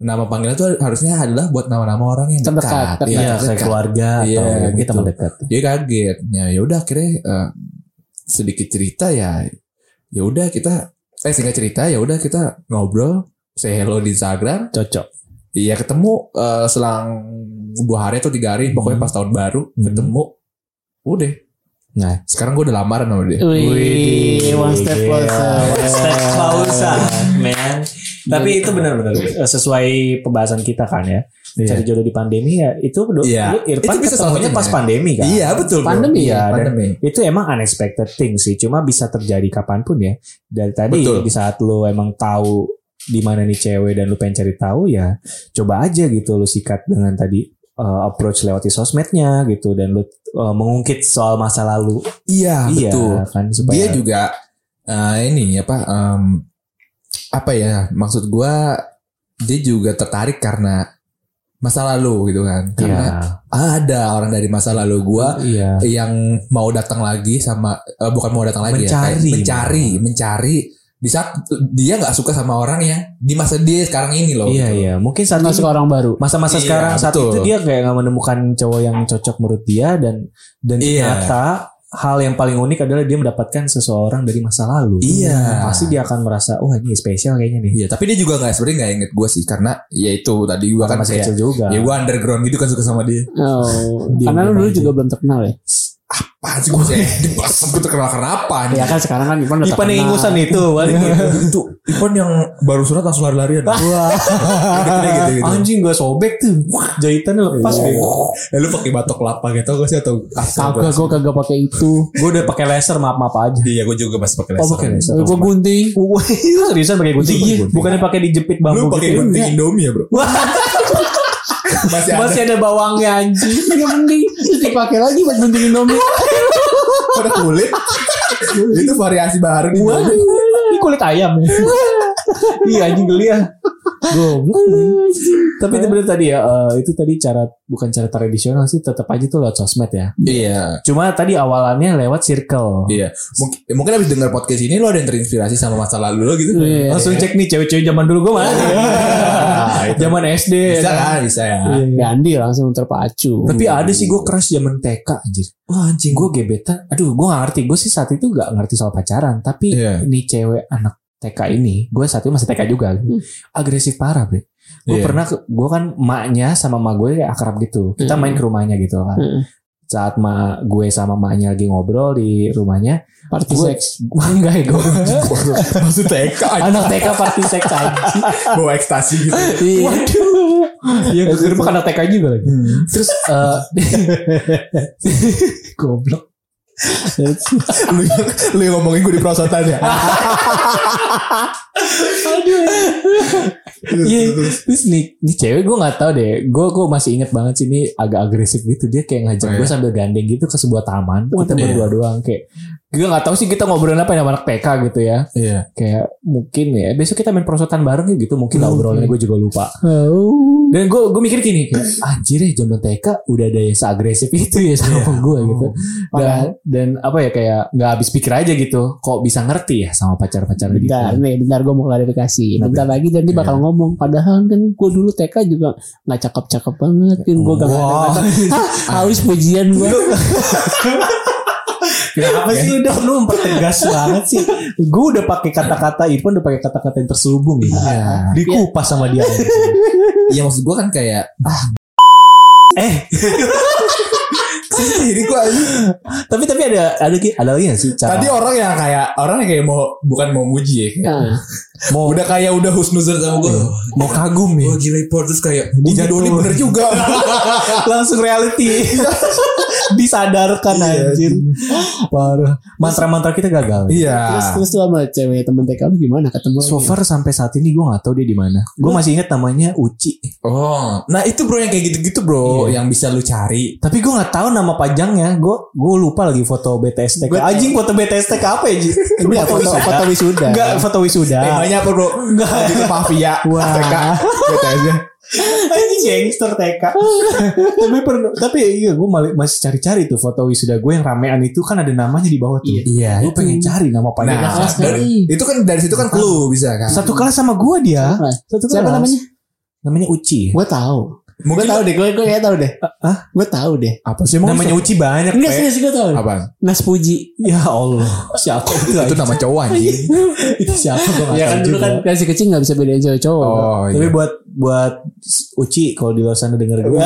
Speaker 1: nama panggilan itu harusnya adalah buat nama-nama orang yang dekat.
Speaker 3: Terdekat, terdekat.
Speaker 1: Iya,
Speaker 2: Iya, kayak
Speaker 1: terdekat.
Speaker 2: keluarga
Speaker 1: Iya,
Speaker 2: atau mungkin
Speaker 1: gitu.
Speaker 2: teman dekat.
Speaker 1: Dia kaget. Ya ya udah akhirnya eh, sedikit cerita ya. Ya udah kita eh singkat cerita ya udah kita ngobrol, say hello di Instagram.
Speaker 2: Cocok.
Speaker 1: Iya ketemu eh, selang dua hari atau tiga hari pokoknya
Speaker 2: Hmm.
Speaker 1: pas tahun baru
Speaker 2: Hmm.
Speaker 1: ketemu. Udah.
Speaker 2: Nah.
Speaker 1: Sekarang gue udah lamaran sama dia.
Speaker 3: Wih, one step
Speaker 2: Gila.
Speaker 3: closer.
Speaker 2: iya. One step closer, man. Tapi
Speaker 3: Jadi-
Speaker 2: itu benar-benar eh, sesuai pembahasan kita kan ya. Cari jodoh di pandemi ya itu do-
Speaker 1: Iya.
Speaker 2: lu Irfan
Speaker 1: Itu bisa salah
Speaker 2: ketemunya
Speaker 1: satunya.
Speaker 2: pas pandemi kan.
Speaker 1: Iya betul. Bro.
Speaker 3: Pandemi
Speaker 1: Iya,
Speaker 2: ya, dan-
Speaker 1: pandemi.
Speaker 2: Itu emang unexpected thing sih, cuma bisa terjadi kapanpun ya. Dari tadi
Speaker 1: Betul.
Speaker 2: di saat lu emang tahu di mana nih cewek dan lu pengen cari tahu ya, coba aja gitu lu sikat dengan tadi eh, approach lewati sosmednya gitu dan lu eh, mengungkit soal masa lalu.
Speaker 1: Iya, betul.
Speaker 2: kan supaya
Speaker 1: Dia juga eh, ini apa em, apa ya maksud gua dia juga tertarik karena masa lalu gitu kan Oh,
Speaker 2: Iya.
Speaker 1: karena ada orang dari masa lalu gua
Speaker 2: Iya.
Speaker 1: yang mau datang lagi sama eh, bukan mau datang lagi ya,
Speaker 2: Mencari.
Speaker 1: kayak mencari mencari di saat dia nggak suka sama orang yang di masa dia sekarang ini loh gitu.
Speaker 2: Iya, iya. Mungkin saat
Speaker 3: Nggak
Speaker 2: ini-
Speaker 3: suka orang baru.
Speaker 2: masa-masa
Speaker 1: Iya,
Speaker 2: sekarang saat
Speaker 1: betul.
Speaker 2: itu dia kayak nggak menemukan cowok yang cocok menurut dia dan dan
Speaker 1: Iya.
Speaker 2: ternyata hal yang paling unik adalah dia mendapatkan seseorang dari masa lalu.
Speaker 1: Iya.
Speaker 2: Pasti dia akan merasa wah ini spesial kayaknya nih.
Speaker 1: Iya, tapi dia juga nggak sebenarnya nggak inget gue sih karena ya itu tadi gue kan
Speaker 2: Karena masih
Speaker 1: kayak
Speaker 2: kecil juga.
Speaker 1: ya gue underground gitu kan suka sama dia
Speaker 3: Oh,
Speaker 2: Dia
Speaker 3: karena lu
Speaker 2: bilang
Speaker 3: dulu
Speaker 2: aja.
Speaker 3: juga belum terkenal ya.
Speaker 1: apa sih gue dipasang gue terkenal kenapa nih
Speaker 3: Ya kan sekarang kan Ipan udah
Speaker 2: Ipan yang
Speaker 3: terkenal.
Speaker 2: ingusan itu
Speaker 1: Iya,
Speaker 2: paling gitu.
Speaker 1: itu Ipan yang baru surat langsung lari-larian
Speaker 2: Wah,
Speaker 1: gitu, gitu.
Speaker 2: anjing gua sobek tuh. Wah, jahitannya lepas. gitu. bego.
Speaker 1: Eh, lu pakai batok kelapa gitu gak sih atau
Speaker 3: Kagak gue kagak pakai itu.
Speaker 2: Gua udah pakai laser maaf-maaf aja.
Speaker 1: Iya, gue juga masih pakai
Speaker 2: Oh,
Speaker 1: laser.
Speaker 2: pakai laser.
Speaker 3: Gue gunting.
Speaker 2: Wah, itu seriusan pakai gunting.
Speaker 1: Iya.
Speaker 2: Bukannya pakai dijepit
Speaker 1: Lu
Speaker 2: bambu
Speaker 1: pakai
Speaker 2: gitu.
Speaker 1: gunting Iya. Indomie ya, Bro? masih ada
Speaker 2: Masih ada bawangnya anjing.
Speaker 3: Iya mending terus dipakai lagi buat gunting Indomie.
Speaker 1: pada kulit. itu variasi baru di
Speaker 2: Wah,
Speaker 1: Indomie.
Speaker 2: ini kulit ayam ya. iya anjing geli ya. Goblok. Tapi itu bener tadi ya, eh, itu tadi cara bukan cara tradisional sih, tetap aja tuh lewat sosmed ya.
Speaker 1: Iya,
Speaker 2: Cuma tadi awalannya lewat circle.
Speaker 1: iya. Mungkin, mungkin abis denger podcast ini lo ada yang terinspirasi sama masa lalu lo gitu.
Speaker 3: Iya.
Speaker 2: Langsung cek nih cewek-cewek zaman dulu gue mana? zaman SD. ya
Speaker 1: Bisa
Speaker 2: kan?
Speaker 1: kan, bisa ya.
Speaker 3: Iya. Gandhi langsung terpacu.
Speaker 2: Tapi ada sih gue crush zaman TK anjir. Wah anjing gue gebetan. Aduh gue gak ngerti. Gue sih saat itu gak ngerti soal pacaran. Tapi
Speaker 1: Iya.
Speaker 2: ini cewek anak TK ini. Gue saat itu masih TK juga. Agresif parah bre. Gue
Speaker 1: Iya.
Speaker 2: pernah. Gue kan maknya sama mak gue kayak akrab gitu. Kita
Speaker 3: Hmm.
Speaker 2: main ke rumahnya gitu kan.
Speaker 3: Hmm.
Speaker 2: Saat mak gue sama maknya lagi ngobrol di rumahnya.
Speaker 3: Party
Speaker 2: Gue
Speaker 3: sex.
Speaker 2: Wah, enggak ya gue.
Speaker 1: Maksud TK
Speaker 2: anak TK party sex anjing.
Speaker 1: bawa ekstasi gitu.
Speaker 3: Iya.
Speaker 2: Waduh. Ya gue kira anak TK juga lagi.
Speaker 1: Hmm.
Speaker 2: Terus eh goblok.
Speaker 1: lu, lu yang ngomongin gue di prosotan ya.
Speaker 2: Aduh. Iya. Terus nih, nih cewek gue nggak tahu deh. Gue gue masih inget banget sih ini agak agresif gitu. Dia kayak ngajak
Speaker 1: Oh, iya.
Speaker 2: gue sambil gandeng gitu ke sebuah taman. kita
Speaker 1: iya.
Speaker 2: berdua doang kayak. Gue nggak tahu sih kita ngobrolin apa ya sama anak TK gitu ya.
Speaker 1: Iya.
Speaker 2: Kayak mungkin ya besok kita main perosotan bareng ya gitu. Mungkin lah
Speaker 3: Oke.
Speaker 2: obrolannya gue juga lupa.
Speaker 3: Oh.
Speaker 2: Dan gue gue mikir gini, kayak, anjir ya zaman TK udah ada yang seagresif itu ya sama gue gitu. Dan, dan apa ya kayak nggak habis pikir aja gitu. Kok bisa ngerti ya sama pacar-pacar gitu.
Speaker 3: Bentar Iya. nih, bentar gue mau klarifikasi. Bentar lagi dan dia bakal ngomong. Padahal kan gue dulu TK juga nggak cakep-cakep banget. Kan gue gak
Speaker 1: Wow.
Speaker 3: ada Harus pujian gue.
Speaker 2: Kenapa ya? sih udah lu mempertegas banget sih? Gue udah pakai kata-kata Ipon udah pakai kata-kata yang terselubung gitu.
Speaker 1: Iya.
Speaker 2: Dikupas sama dia.
Speaker 1: Iya maksud gue kan kayak
Speaker 2: eh,
Speaker 1: ini gue
Speaker 2: tapi tapi ada ada lagi ada lagi gak sih cara
Speaker 1: tadi orang yang kayak orang yang kayak mau bukan mau muji ya. kayak,
Speaker 3: Nah,
Speaker 2: mau
Speaker 1: Udah kayak udah husnuzon sama gue.
Speaker 2: mau kagum ya?
Speaker 1: Wah gila Ipor terus kayak "Oh,
Speaker 2: Iya,
Speaker 1: jadi Doni
Speaker 2: tuh.
Speaker 1: bener juga.
Speaker 2: Langsung reality. Disadarkan
Speaker 1: Iya.
Speaker 2: anjir. Parah. Mantra-mantra kita gagal.
Speaker 1: Iya.
Speaker 3: Terus terus tuh sama cewek temen TK lu gimana ketemu?
Speaker 2: So far sampai saat ini gue gak tahu dia di mana. Gue masih ingat namanya Uci.
Speaker 1: Oh, nah itu bro yang kayak gitu-gitu bro, yang bisa lu cari.
Speaker 2: Tapi gue gak tahu nama panjangnya. Gue gue lupa lagi foto BTS TK.
Speaker 1: Gue-
Speaker 2: Anjing foto BTS TK apa ya? Ji?
Speaker 3: Iya, foto foto wisuda.
Speaker 2: Enggak foto wisuda.
Speaker 1: Temanya apa bro? Nah. Enggak. Itu mafia.
Speaker 2: Wah.
Speaker 1: TK. Gitu aja.
Speaker 2: Ini gangster TK. tapi pernah, tapi iya gue mali- masih cari-cari tuh foto wisuda gue yang ramean itu kan ada namanya di bawah tuh.
Speaker 1: Iya.
Speaker 2: Gue pengen cari nama
Speaker 1: Nah,
Speaker 2: panjangnya.
Speaker 3: kelas
Speaker 1: dari-
Speaker 3: kali.
Speaker 1: itu kan dari situ kan clue bisa kan.
Speaker 2: satu kelas sama gue dia.
Speaker 3: Nah,
Speaker 2: Satu kelas.
Speaker 3: Siapa namanya?
Speaker 2: Namanya Uci.
Speaker 3: Gue tahu. Gue
Speaker 1: Mungkin
Speaker 3: tahu deh. Gue gue kayak tahu deh.
Speaker 2: Hah?
Speaker 3: Gue tahu deh.
Speaker 1: apa sih mau
Speaker 2: Namanya Uci banyak.
Speaker 3: Enggak
Speaker 2: Pe.
Speaker 3: serius gue tahu.
Speaker 1: apa?
Speaker 3: Nas Puji.
Speaker 2: Ya Allah. Siapa
Speaker 1: Itu
Speaker 2: itu? anjing?
Speaker 1: nama cowok anjing.
Speaker 2: itu siapa gue nggak
Speaker 3: Ya kan
Speaker 2: tahu
Speaker 3: dulu
Speaker 2: Iya juga.
Speaker 3: kan kasih kecil nggak bisa bedain cowok-cowok.
Speaker 1: Oh,
Speaker 2: Tapi
Speaker 1: iya.
Speaker 2: buat buat Uci kalau di luar sana denger gue.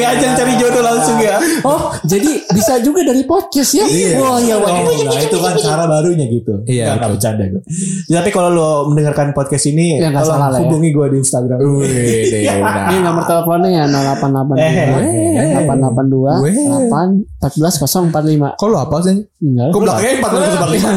Speaker 2: Kayak ajang cari jodoh langsung ya.
Speaker 3: Oh, jadi bisa juga dari podcast ya?
Speaker 1: Iya.
Speaker 3: Wah, ya, Wak.
Speaker 2: Oh, nah itu kan cara barunya gitu.
Speaker 1: Iya,
Speaker 2: Nggak, nggak
Speaker 1: betul.
Speaker 2: bercanda gue. Ya, tapi kalau lo mendengarkan podcast ini,
Speaker 3: Ya, nggak
Speaker 2: tolong
Speaker 3: salah lah ya.
Speaker 2: hubungi gue di Instagram.
Speaker 1: Wih, deh, udah.
Speaker 3: Ini nomor teleponnya ya 0882
Speaker 1: Weh.
Speaker 3: 882 814 045.
Speaker 1: Kok lu apa sih?
Speaker 3: Enggak.
Speaker 1: Kok belakangnya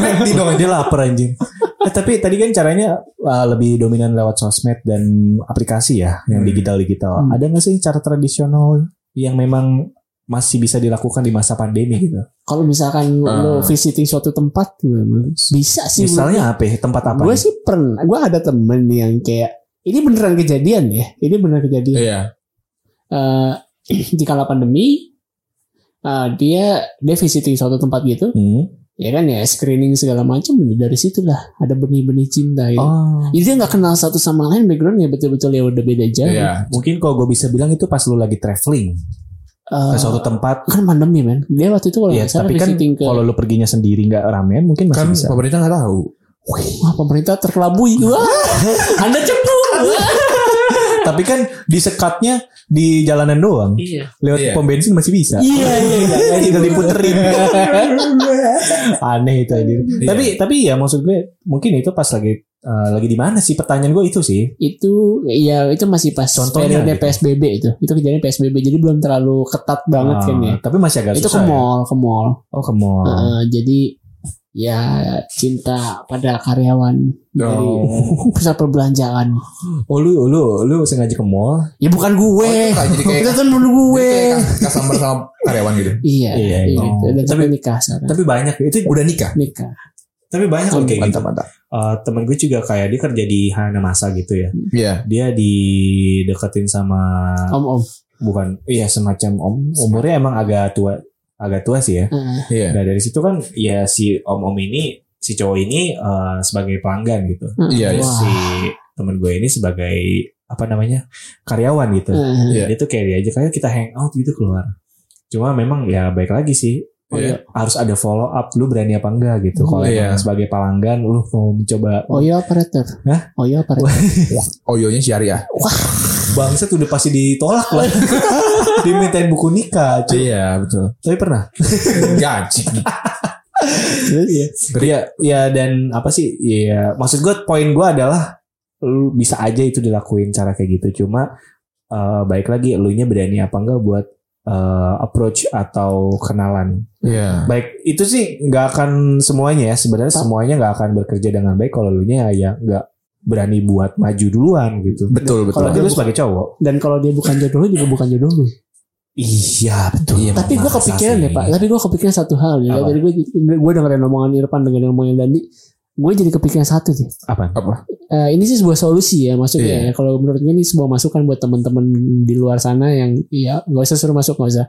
Speaker 1: 1445 Medi dong.
Speaker 2: Dia lapar anjing. Eh, tapi tadi kan caranya uh, lebih dominan lewat sosmed dan aplikasi ya, yang
Speaker 1: Hmm.
Speaker 2: digital-digital.
Speaker 3: Hmm.
Speaker 2: Ada nggak sih cara tradisional yang memang masih bisa dilakukan di masa pandemi gitu?
Speaker 3: Kalau misalkan
Speaker 1: Ah.
Speaker 3: lo visiting suatu tempat gimana? Bisa sih.
Speaker 2: Misalnya apa? ya? Tempat apa?
Speaker 3: gue sih pernah. Gue ada temen yang kayak ini beneran kejadian ya ini beneran kejadian
Speaker 1: Iya.
Speaker 3: eh di kala pandemi eh, dia dia visiting suatu tempat gitu
Speaker 2: Hmm.
Speaker 3: ya kan ya screening segala macam dari situlah ada benih-benih cinta ya.
Speaker 2: Oh.
Speaker 3: Jadi dia nggak kenal satu sama lain backgroundnya betul-betul ya udah beda jauh.
Speaker 1: Iya.
Speaker 2: Mungkin kalau gue bisa bilang itu pas lu lagi traveling
Speaker 3: Eh,
Speaker 2: ke suatu tempat.
Speaker 3: kan pandemi men. Dia waktu itu kalau
Speaker 2: Ya,
Speaker 3: nggak salah
Speaker 2: tapi kan
Speaker 3: Oh, visiting ke
Speaker 2: kalau lu perginya sendiri nggak ramen mungkin masih
Speaker 1: Kan
Speaker 2: bisa.
Speaker 1: pemerintah nggak tahu.
Speaker 3: wah pemerintah terkelabui. Wah, Anda cemburu.
Speaker 2: tapi kan disekatnya di jalanan doang.
Speaker 3: Iya.
Speaker 2: Lewat
Speaker 1: Iya.
Speaker 2: pom bensin masih bisa.
Speaker 3: Iya iya iya.
Speaker 2: Tinggal diputerin. Aneh itu anjir.
Speaker 1: Iya.
Speaker 2: Tapi tapi ya maksud gue mungkin itu pas lagi eh, lagi di mana sih pertanyaan gue itu sih.
Speaker 3: itu ya itu masih pas
Speaker 2: Contohnya
Speaker 3: periode
Speaker 2: gitu.
Speaker 3: PSBB itu. Itu kejadian PSBB jadi belum terlalu ketat banget
Speaker 2: Ah,
Speaker 3: kan ya.
Speaker 2: Tapi masih agak
Speaker 3: Itu ke
Speaker 2: susah. ya.
Speaker 3: mall, ke mall.
Speaker 2: Oh, ke mall.
Speaker 3: Heeh, jadi ya cinta pada karyawan dari
Speaker 2: Oh.
Speaker 3: pusat perbelanjaan.
Speaker 2: Oh, lu lu lu sengaja ke mall?
Speaker 3: Ya bukan
Speaker 1: Oh,
Speaker 3: gue.
Speaker 1: itu kayak- jadi kayak-
Speaker 3: itu kan menurut
Speaker 1: Jadi
Speaker 3: gue.
Speaker 1: kayak kas- Kasar sama karyawan gitu.
Speaker 3: Iya.
Speaker 2: Iya,
Speaker 3: iya,
Speaker 2: iya.
Speaker 3: gitu. Dan
Speaker 2: Tapi-
Speaker 3: tapi nikah sekarang.
Speaker 2: Tapi banyak itu
Speaker 1: Udah nikah.
Speaker 3: nikah.
Speaker 2: tapi banyak loh kayak gitu.
Speaker 1: Mantap mantap.
Speaker 2: Eh, temen gue juga kayak dia kerja di Hana Masa gitu ya.
Speaker 1: Iya.
Speaker 2: Dia dideketin sama
Speaker 3: Om-om.
Speaker 2: bukan iya semacam om umurnya emang agak tua agak tua sih ya.
Speaker 3: Heeh.
Speaker 1: Iya.
Speaker 2: Nah dari situ kan ya si om om ini si cowok ini eh, sebagai pelanggan gitu.
Speaker 1: Iya,
Speaker 2: Terus
Speaker 3: Wah.
Speaker 2: si temen gue ini sebagai apa namanya karyawan gitu.
Speaker 3: Heeh.
Speaker 1: Iya.
Speaker 2: Jadi itu kayak dia aja kayak kita hang out gitu keluar. Cuma memang ya baik lagi sih. Ya,
Speaker 1: Oh, iya.
Speaker 2: Harus ada follow up lu berani apa enggak gitu. Kalau
Speaker 1: Iya.
Speaker 2: emang sebagai pelanggan lu mau mencoba
Speaker 3: Oh iya operator.
Speaker 2: Hah?
Speaker 3: Oh iya operator.
Speaker 1: Wah, Oyonya syariah.
Speaker 2: bangsa tuh udah pasti ditolak lah. Dimintain buku nikah. cuy.
Speaker 1: Iya betul.
Speaker 2: Tapi pernah
Speaker 1: Gaji.
Speaker 2: Iya. Iya, ya dan apa sih? Iya, maksud gue poin gue adalah lu bisa aja itu dilakuin cara kayak gitu. Cuma eh, baik lagi elunya berani apa enggak buat eh, approach atau kenalan.
Speaker 1: Iya.
Speaker 2: Baik, itu sih nggak akan semuanya ya. Sebenarnya
Speaker 3: Pak.
Speaker 2: semuanya nggak akan bekerja dengan baik kalau elunya ya nggak berani buat maju duluan gitu.
Speaker 1: Betul betul.
Speaker 2: Kalau
Speaker 3: dia
Speaker 2: lu
Speaker 3: bukan-
Speaker 2: sebagai cowok.
Speaker 3: Dan kalau dia bukan jodoh lu juga bukan jodoh lu.
Speaker 2: Iya, betul.
Speaker 1: Iya,
Speaker 3: Tapi gue
Speaker 2: Masa
Speaker 3: kepikiran
Speaker 2: sih?
Speaker 3: ya pak. Tapi gue kepikiran satu hal ya.
Speaker 2: Apa?
Speaker 3: Tadi gue gue dengerin omongan Irfan dengerin omongan Dandi. Gue jadi kepikiran satu sih.
Speaker 2: Apa?
Speaker 1: Apa?
Speaker 3: Eh, ini sih sebuah solusi ya maksudnya
Speaker 1: Iya.
Speaker 3: ya. Kalau menurut gue ini sebuah masukan buat teman-teman di luar sana yang ya nggak usah suruh masuk nggak usah.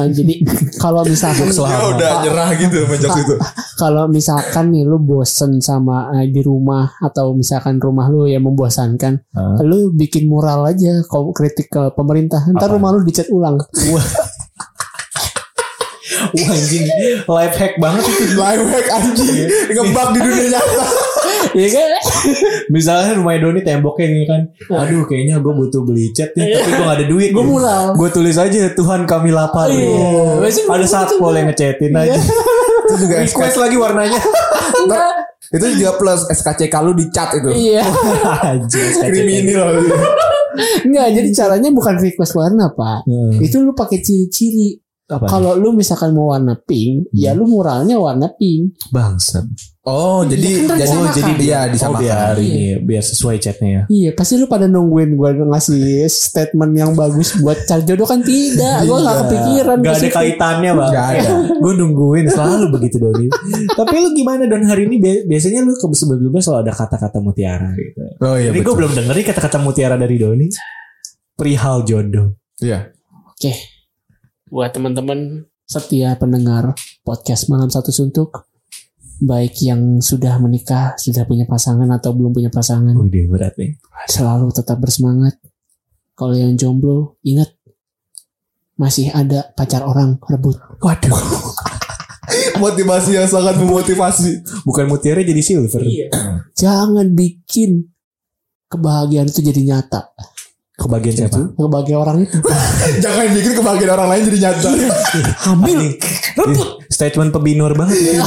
Speaker 3: Nah, jadi kalau misalkan
Speaker 1: Dia Ya udah nyerah gitu menjak itu.
Speaker 3: kalau misalkan nih lu bosen sama eh, di rumah atau misalkan rumah lu yang membosankan,
Speaker 2: Hah?
Speaker 3: lu bikin mural aja kau kritik ke pemerintah. Ntar
Speaker 2: Apa?
Speaker 3: rumah lu dicat ulang.
Speaker 2: Wah, anjing, life hack banget itu.
Speaker 1: Live hack anjing ngebug di dunia nyata.
Speaker 3: Iya kan?
Speaker 2: Misalnya rumah Doni temboknya nih kan Aduh kayaknya gue butuh beli cat nih Tapi gue gak ada duit
Speaker 3: Gue mural.
Speaker 2: Gue tulis aja Tuhan kami lapar
Speaker 3: Iya.
Speaker 2: Oh.
Speaker 3: Biasanya
Speaker 2: Ada
Speaker 3: gue
Speaker 2: satpol
Speaker 3: juga.
Speaker 2: yang ngecatin
Speaker 3: Iya.
Speaker 2: aja
Speaker 1: Itu juga
Speaker 2: Request lagi warnanya
Speaker 1: itu juga plus SKCK lu dicat itu.
Speaker 3: Iya.
Speaker 2: Anjir,
Speaker 1: Kriminal.
Speaker 3: Enggak, jadi caranya bukan request warna, Pak.
Speaker 2: Hmm.
Speaker 3: Itu lu pakai ciri-ciri.
Speaker 2: Apa?
Speaker 3: Kalau lu misalkan mau warna
Speaker 2: Hmm.
Speaker 3: pink, ya lu muralnya warna pink.
Speaker 2: Bangsat
Speaker 1: Oh, jadi
Speaker 3: Iya,
Speaker 1: jadi
Speaker 3: kan disamakan.
Speaker 1: jadi dia
Speaker 2: Oh biar
Speaker 1: disamakan.
Speaker 2: ini Biar sesuai catnya ya
Speaker 3: Iya, pasti lu pada nungguin gua ngasih statement yang bagus buat cari jodoh kan tidak. Gua nggak kepikiran.
Speaker 2: Gak Iya. ada
Speaker 3: Pasti-
Speaker 2: kaitannya bang
Speaker 1: Nggak ada.
Speaker 2: Gue nungguin Selalu begitu Doni Tapi lu gimana Don hari ini bi- Biasanya lu ke- sebelumnya selalu ada kata-kata mutiara gitu
Speaker 1: Oh iya
Speaker 2: Ini gue
Speaker 1: betul.
Speaker 2: belum dengerin kata-kata mutiara dari Doni Perihal jodoh
Speaker 1: Iya.
Speaker 3: Oke. Buat teman-teman setia pendengar podcast Malam Satu Suntuk, baik yang sudah menikah, sudah punya pasangan atau belum punya pasangan,
Speaker 2: Wih berat nih.
Speaker 3: selalu tetap bersemangat. Kalau yang jomblo, ingat masih ada pacar orang rebut.
Speaker 2: Waduh.
Speaker 1: Motivasi yang sangat memotivasi.
Speaker 2: Bukan mutiara jadi silver.
Speaker 3: Iya. Jangan bikin kebahagiaan itu jadi nyata.
Speaker 2: Kebagian siapa?
Speaker 3: Iya. Kebahagiaan orang itu
Speaker 1: Jangan bikin kebahagiaan orang lain jadi nyata.
Speaker 3: hamil. Iya.
Speaker 2: Rebut. Statement pebinor banget. ya.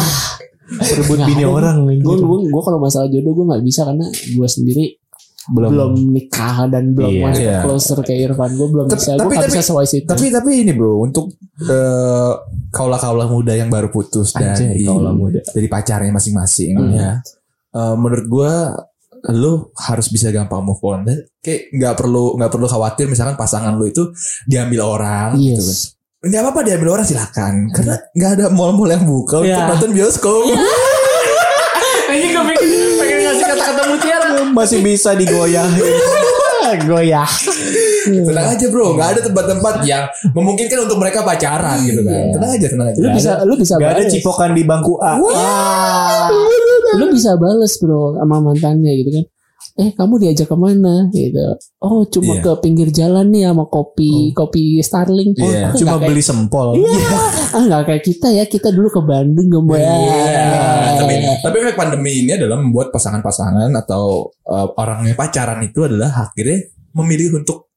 Speaker 2: Perebut
Speaker 3: Nggak
Speaker 2: bini
Speaker 3: ada. Iya,
Speaker 2: orang. anjir.
Speaker 1: Gitu.
Speaker 3: Gue gue kalau masalah jodoh gue nggak bisa karena gue sendiri
Speaker 2: belum.
Speaker 3: belum, nikah dan belum
Speaker 2: Iya.
Speaker 3: masuk
Speaker 1: Iya.
Speaker 3: closer kayak Irfan. Gue belum
Speaker 1: Tapi-
Speaker 3: bisa. Gue
Speaker 1: tapi-
Speaker 3: nggak
Speaker 1: tapi-
Speaker 3: bisa sewise itu.
Speaker 1: tapi tapi ini bro untuk eh, kaula-kaula muda yang baru putus dan
Speaker 2: Anjay, kaula muda.
Speaker 1: dari pacarnya masing-masing
Speaker 3: Hmm.
Speaker 1: ya. Eh, menurut gua lu harus bisa gampang move on dan kayak nggak perlu nggak perlu khawatir misalkan pasangan lu itu diambil orang gitu kan.
Speaker 3: yes.
Speaker 1: Nggak apa-apa diambil orang silakan karena nggak ada mall-mall yang buka untuk
Speaker 2: Ya.
Speaker 1: nonton bioskop.
Speaker 3: Ini gue pengen ngasih kata-kata mutiara.
Speaker 2: masih bisa digoyahin.
Speaker 3: goyah
Speaker 1: Tenang
Speaker 2: Iya.
Speaker 1: aja bro, nggak ada tempat-tempat yang memungkinkan untuk mereka pacaran gitu
Speaker 2: Iya.
Speaker 1: kan. Tenang aja, tenang aja.
Speaker 3: lu bisa lu bisa
Speaker 2: Gak ada
Speaker 3: bales.
Speaker 2: cipokan di bangku A.
Speaker 3: Wah. lu bisa bales bro sama mantannya gitu kan eh kamu diajak kemana gitu oh cuma
Speaker 1: Iya.
Speaker 3: ke pinggir jalan nih sama kopi kopi Starling oh,
Speaker 1: Iya.
Speaker 3: nggak
Speaker 2: Ya, Cuma
Speaker 3: kayak-
Speaker 2: beli sempol.
Speaker 3: ah nggak kayak kita ya kita dulu ke Bandung gembar
Speaker 1: Iya, tapi tapi efek pandemi ini adalah membuat pasangan-pasangan atau eh, orang yang pacaran itu adalah akhirnya memilih untuk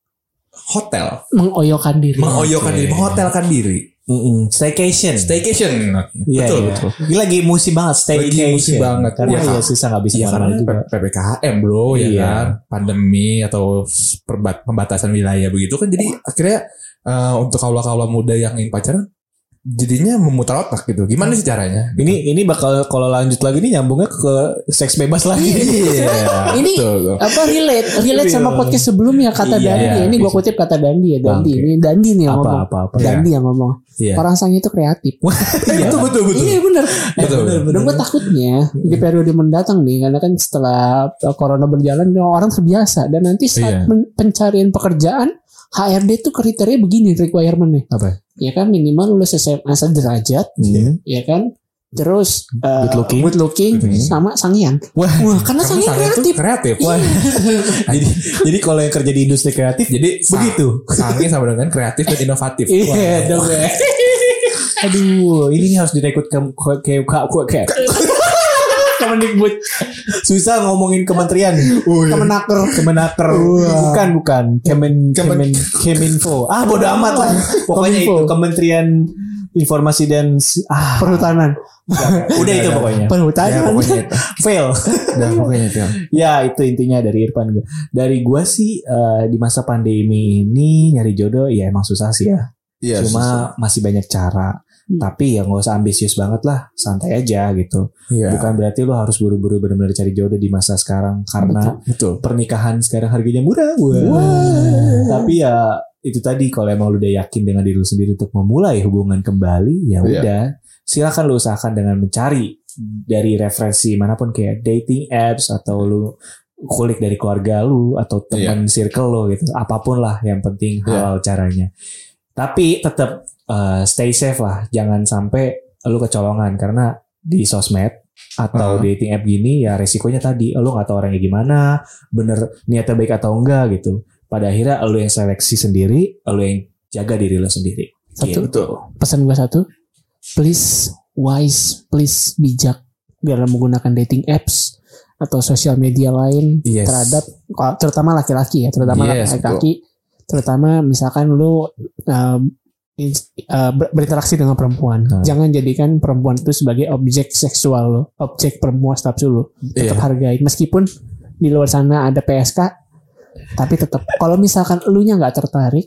Speaker 1: hotel,
Speaker 3: mengoyokan
Speaker 2: Iya,
Speaker 3: diri
Speaker 1: mengoyokan diri, menghotelkan diri,
Speaker 2: Mm-mm. Staycation.
Speaker 1: staycation.
Speaker 2: Iya,
Speaker 1: betul
Speaker 2: iya.
Speaker 1: betul.
Speaker 2: Ini lagi musim banget staycation.
Speaker 1: Lagi musim banget.
Speaker 2: Karena
Speaker 1: Iya,
Speaker 2: ya,
Speaker 1: Kak.
Speaker 2: susah nggak bisa
Speaker 1: Iya
Speaker 2: kemana-mana
Speaker 1: karena
Speaker 2: juga.
Speaker 1: P- ppkm bro ya
Speaker 2: Iya.
Speaker 1: kan, pandemi atau s- perbat pembatasan wilayah begitu kan jadi akhirnya eh, untuk kaula-kaula muda yang ingin pacaran jadinya memutar otak gitu. Gimana sih caranya?
Speaker 2: Ini ini bakal kalau lanjut lagi ini nyambungnya ke seks bebas lagi.
Speaker 1: Iya.
Speaker 3: Ini-
Speaker 1: betul.
Speaker 3: apa relate relate sama
Speaker 2: Iya.
Speaker 3: podcast sebelumnya kata
Speaker 1: Iya,
Speaker 3: Dandi
Speaker 1: iya,
Speaker 3: ini gua
Speaker 1: bisa.
Speaker 3: kutip kata Dandi ya Dandi
Speaker 2: Bangke.
Speaker 3: ini Dandi nih yang ngomong
Speaker 2: apa ya? apa apa.
Speaker 1: Iya.
Speaker 3: Dandi yang ngomong
Speaker 1: Iya.
Speaker 3: orang sang itu kreatif
Speaker 1: Eh, betul betul betul.
Speaker 3: iya bener
Speaker 1: Betul.
Speaker 3: Dan gue takutnya di periode mendatang nih, karena kan setelah uh, corona berjalan, orang terbiasa. Dan nanti saat
Speaker 1: Iya.
Speaker 3: men- pencarian pekerjaan, HRD tuh kriteria begini requirementnya.
Speaker 1: Apa?
Speaker 3: Ya kan minimal lulus SMA sederajat,
Speaker 2: Iya.
Speaker 3: ya kan. Terus uh,
Speaker 2: Good looking.
Speaker 3: good looking,
Speaker 1: Mhm.
Speaker 3: sama sangian.
Speaker 2: Wah.
Speaker 3: karena
Speaker 1: Karena
Speaker 3: sangian
Speaker 1: sange
Speaker 3: kreatif.
Speaker 1: tuh kan. kreatif.
Speaker 2: Wah. jadi jadi kalau yang kerja di industri kreatif
Speaker 1: Jadi
Speaker 2: begitu.
Speaker 1: Sange sama dengan kreatif dan inovatif.
Speaker 3: Iya,
Speaker 1: Wah.
Speaker 2: dong ya. Aduh, ini harus direkrut ke ke ke ke, ke. Kemendikbud. Susah ngomongin kementerian. Kemenaker, kemenaker. Bukan, bukan. Kemen Kemen Keminfo. Ah, bodo amat lah. Pokoknya
Speaker 3: Kominfo.
Speaker 2: itu Kementerian Informasi dan S- ah,
Speaker 3: Perhutanan.
Speaker 2: udah itu pokoknya.
Speaker 1: Ya,
Speaker 3: Perhutanan.
Speaker 1: pokoknya itu.
Speaker 2: Fail.
Speaker 1: Dan pokoknya itu.
Speaker 2: Ya itu intinya dari Irfan gue. Dari gua sih eh, di masa pandemi ini nyari jodoh ya emang susah sih ya.
Speaker 1: Iya, susah.
Speaker 2: Cuma masih banyak cara.
Speaker 3: Hmm.
Speaker 2: Tapi ya nggak usah ambisius banget lah, santai aja gitu.
Speaker 1: Iya.
Speaker 2: Bukan berarti lu harus buru-buru benar-benar cari jodoh di masa sekarang karena
Speaker 1: Betul.
Speaker 2: pernikahan sekarang harganya murah. Wah. Tapi ya itu tadi kalau emang lu udah yakin dengan diri lu sendiri untuk memulai hubungan kembali,
Speaker 1: Iya.
Speaker 2: ya udah. Silakan lu usahakan dengan mencari dari referensi manapun kayak dating apps atau lu kulik dari keluarga lu atau
Speaker 1: Iya.
Speaker 2: teman circle lu gitu. Apapun lah yang penting halal caranya. Tapi tetap eh, stay safe lah, jangan sampai lu kecolongan karena di sosmed atau
Speaker 1: Uh-huh.
Speaker 2: dating app gini ya resikonya tadi lu nggak tahu orangnya gimana bener niatnya baik atau enggak gitu pada akhirnya lu yang seleksi sendiri lu yang jaga diri lu sendiri
Speaker 3: Satu.
Speaker 2: Gitu.
Speaker 3: Pesan gue satu. Please wise, please bijak dalam menggunakan dating apps atau sosial media lain
Speaker 1: Yes.
Speaker 3: terhadap kalau- terutama laki-laki ya terutama
Speaker 1: Yes,
Speaker 3: laki-laki terutama misalkan lu um, ins- uh, ber- berinteraksi dengan perempuan
Speaker 1: Nah.
Speaker 2: Hmm.
Speaker 3: jangan jadikan perempuan itu sebagai objek seksual lo objek perempuan nafsu lo
Speaker 1: Iya.
Speaker 3: tetap hargai meskipun di luar sana ada PSK tapi tetap kalau misalkan elunya nggak tertarik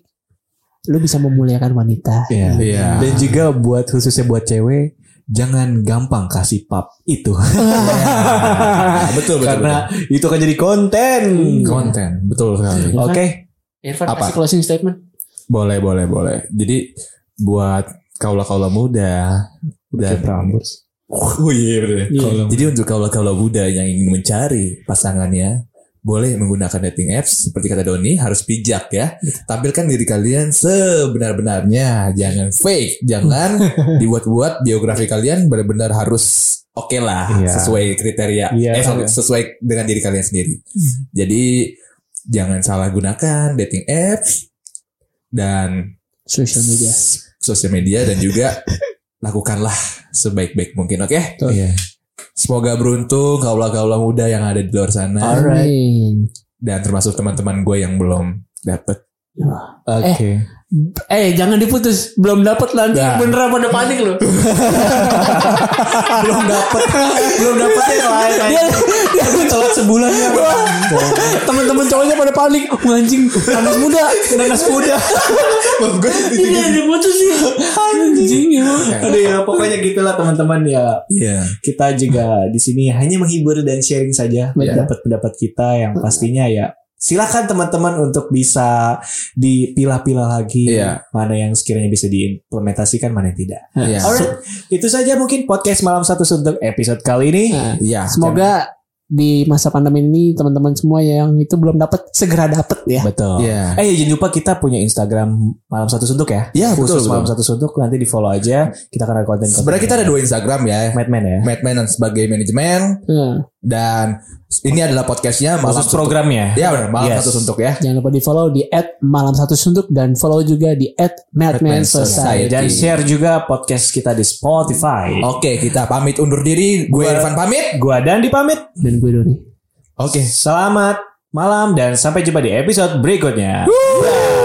Speaker 3: lu bisa memuliakan wanita
Speaker 2: Iya.
Speaker 1: Iya.
Speaker 2: dan juga buat khususnya buat cewek jangan gampang kasih pap itu
Speaker 1: Ah, betul betul.
Speaker 2: karena itu akan jadi konten
Speaker 1: betul. konten betul sekali.
Speaker 2: oke
Speaker 3: Irfan
Speaker 1: Apa?
Speaker 3: kasih closing statement
Speaker 1: Boleh boleh boleh. Jadi buat kaula-kaula muda dan
Speaker 2: Oke, Prambors.
Speaker 1: Oh iya bener.
Speaker 3: Iya.
Speaker 1: Kaula- Jadi untuk kaula-kaula muda yang ingin mencari pasangannya boleh menggunakan dating apps seperti kata Doni harus bijak ya. Tampilkan diri kalian sebenar-benarnya, jangan fake, jangan dibuat-buat biografi kalian benar-benar harus oke lah
Speaker 2: Iya.
Speaker 1: sesuai kriteria
Speaker 2: Iya. Hmm.
Speaker 1: eh, sorry, sesuai dengan diri kalian sendiri. Jadi jangan salah gunakan dating apps dan
Speaker 3: social media
Speaker 1: sosial media dan juga lakukanlah sebaik-baik mungkin oke
Speaker 3: Betul.
Speaker 1: Iya. semoga beruntung kaula-kaula muda yang ada di luar sana
Speaker 2: Alright.
Speaker 3: Amin.
Speaker 1: dan termasuk teman-teman gue yang belum dapet
Speaker 2: oke
Speaker 3: Eh jangan diputus Belum dapat nanti
Speaker 1: Nah.
Speaker 3: Beneran pada panik loh
Speaker 1: Eh.
Speaker 2: belum dapet belum dapet yang lain
Speaker 3: Dia-
Speaker 2: dia telat sebulan ya
Speaker 3: Temen-temen cowoknya pada panik Wah, Anjing Anak muda
Speaker 2: nanas muda
Speaker 3: Ini yang diputus sih Anjing emang.
Speaker 2: Aduh ya pokoknya gitulah teman-teman ya
Speaker 1: iya
Speaker 2: kita juga di sini hanya menghibur dan sharing saja
Speaker 3: Betul.
Speaker 2: pendapat-pendapat kita yang pastinya ya silakan teman-teman untuk bisa dipilah-pilah lagi
Speaker 1: Iya.
Speaker 2: mana yang sekiranya bisa diimplementasikan mana yang tidak.
Speaker 1: iya
Speaker 2: Alright, itu saja mungkin podcast malam satu suntuk episode kali ini.
Speaker 3: Nah,
Speaker 1: iya
Speaker 3: Semoga di masa pandemi ini teman-teman semua ya, yang itu belum dapat segera dapat ya.
Speaker 2: Betul.
Speaker 1: Iya.
Speaker 2: Eh ya, jangan lupa kita punya Instagram malam satu suntuk ya.
Speaker 1: Iya,
Speaker 2: khusus
Speaker 1: betul,
Speaker 2: malam
Speaker 1: betul.
Speaker 2: satu suntuk nanti di follow aja. Kita akan ada konten.
Speaker 1: Sebenarnya kita ada dua Instagram ya.
Speaker 2: Madman ya.
Speaker 1: Madman sebagai manajemen
Speaker 3: Nah,
Speaker 1: dan ini adalah podcastnya malam
Speaker 2: Khusus programnya.
Speaker 1: Ya benar, malam
Speaker 2: Yes.
Speaker 1: satu suntuk ya.
Speaker 3: jangan lupa di follow di @malam satu sunduk dan follow juga di
Speaker 1: Madman
Speaker 3: @madman
Speaker 1: Society.
Speaker 3: society.
Speaker 2: Dan share juga podcast kita di Spotify.
Speaker 1: Iya. Oke, kita pamit undur diri. Gue
Speaker 2: Gua-
Speaker 1: Irfan pamit.
Speaker 2: Gua dan dipamit.
Speaker 3: Dan gue Doni.
Speaker 1: Oke.
Speaker 2: Selamat malam dan sampai jumpa di episode berikutnya. Bye.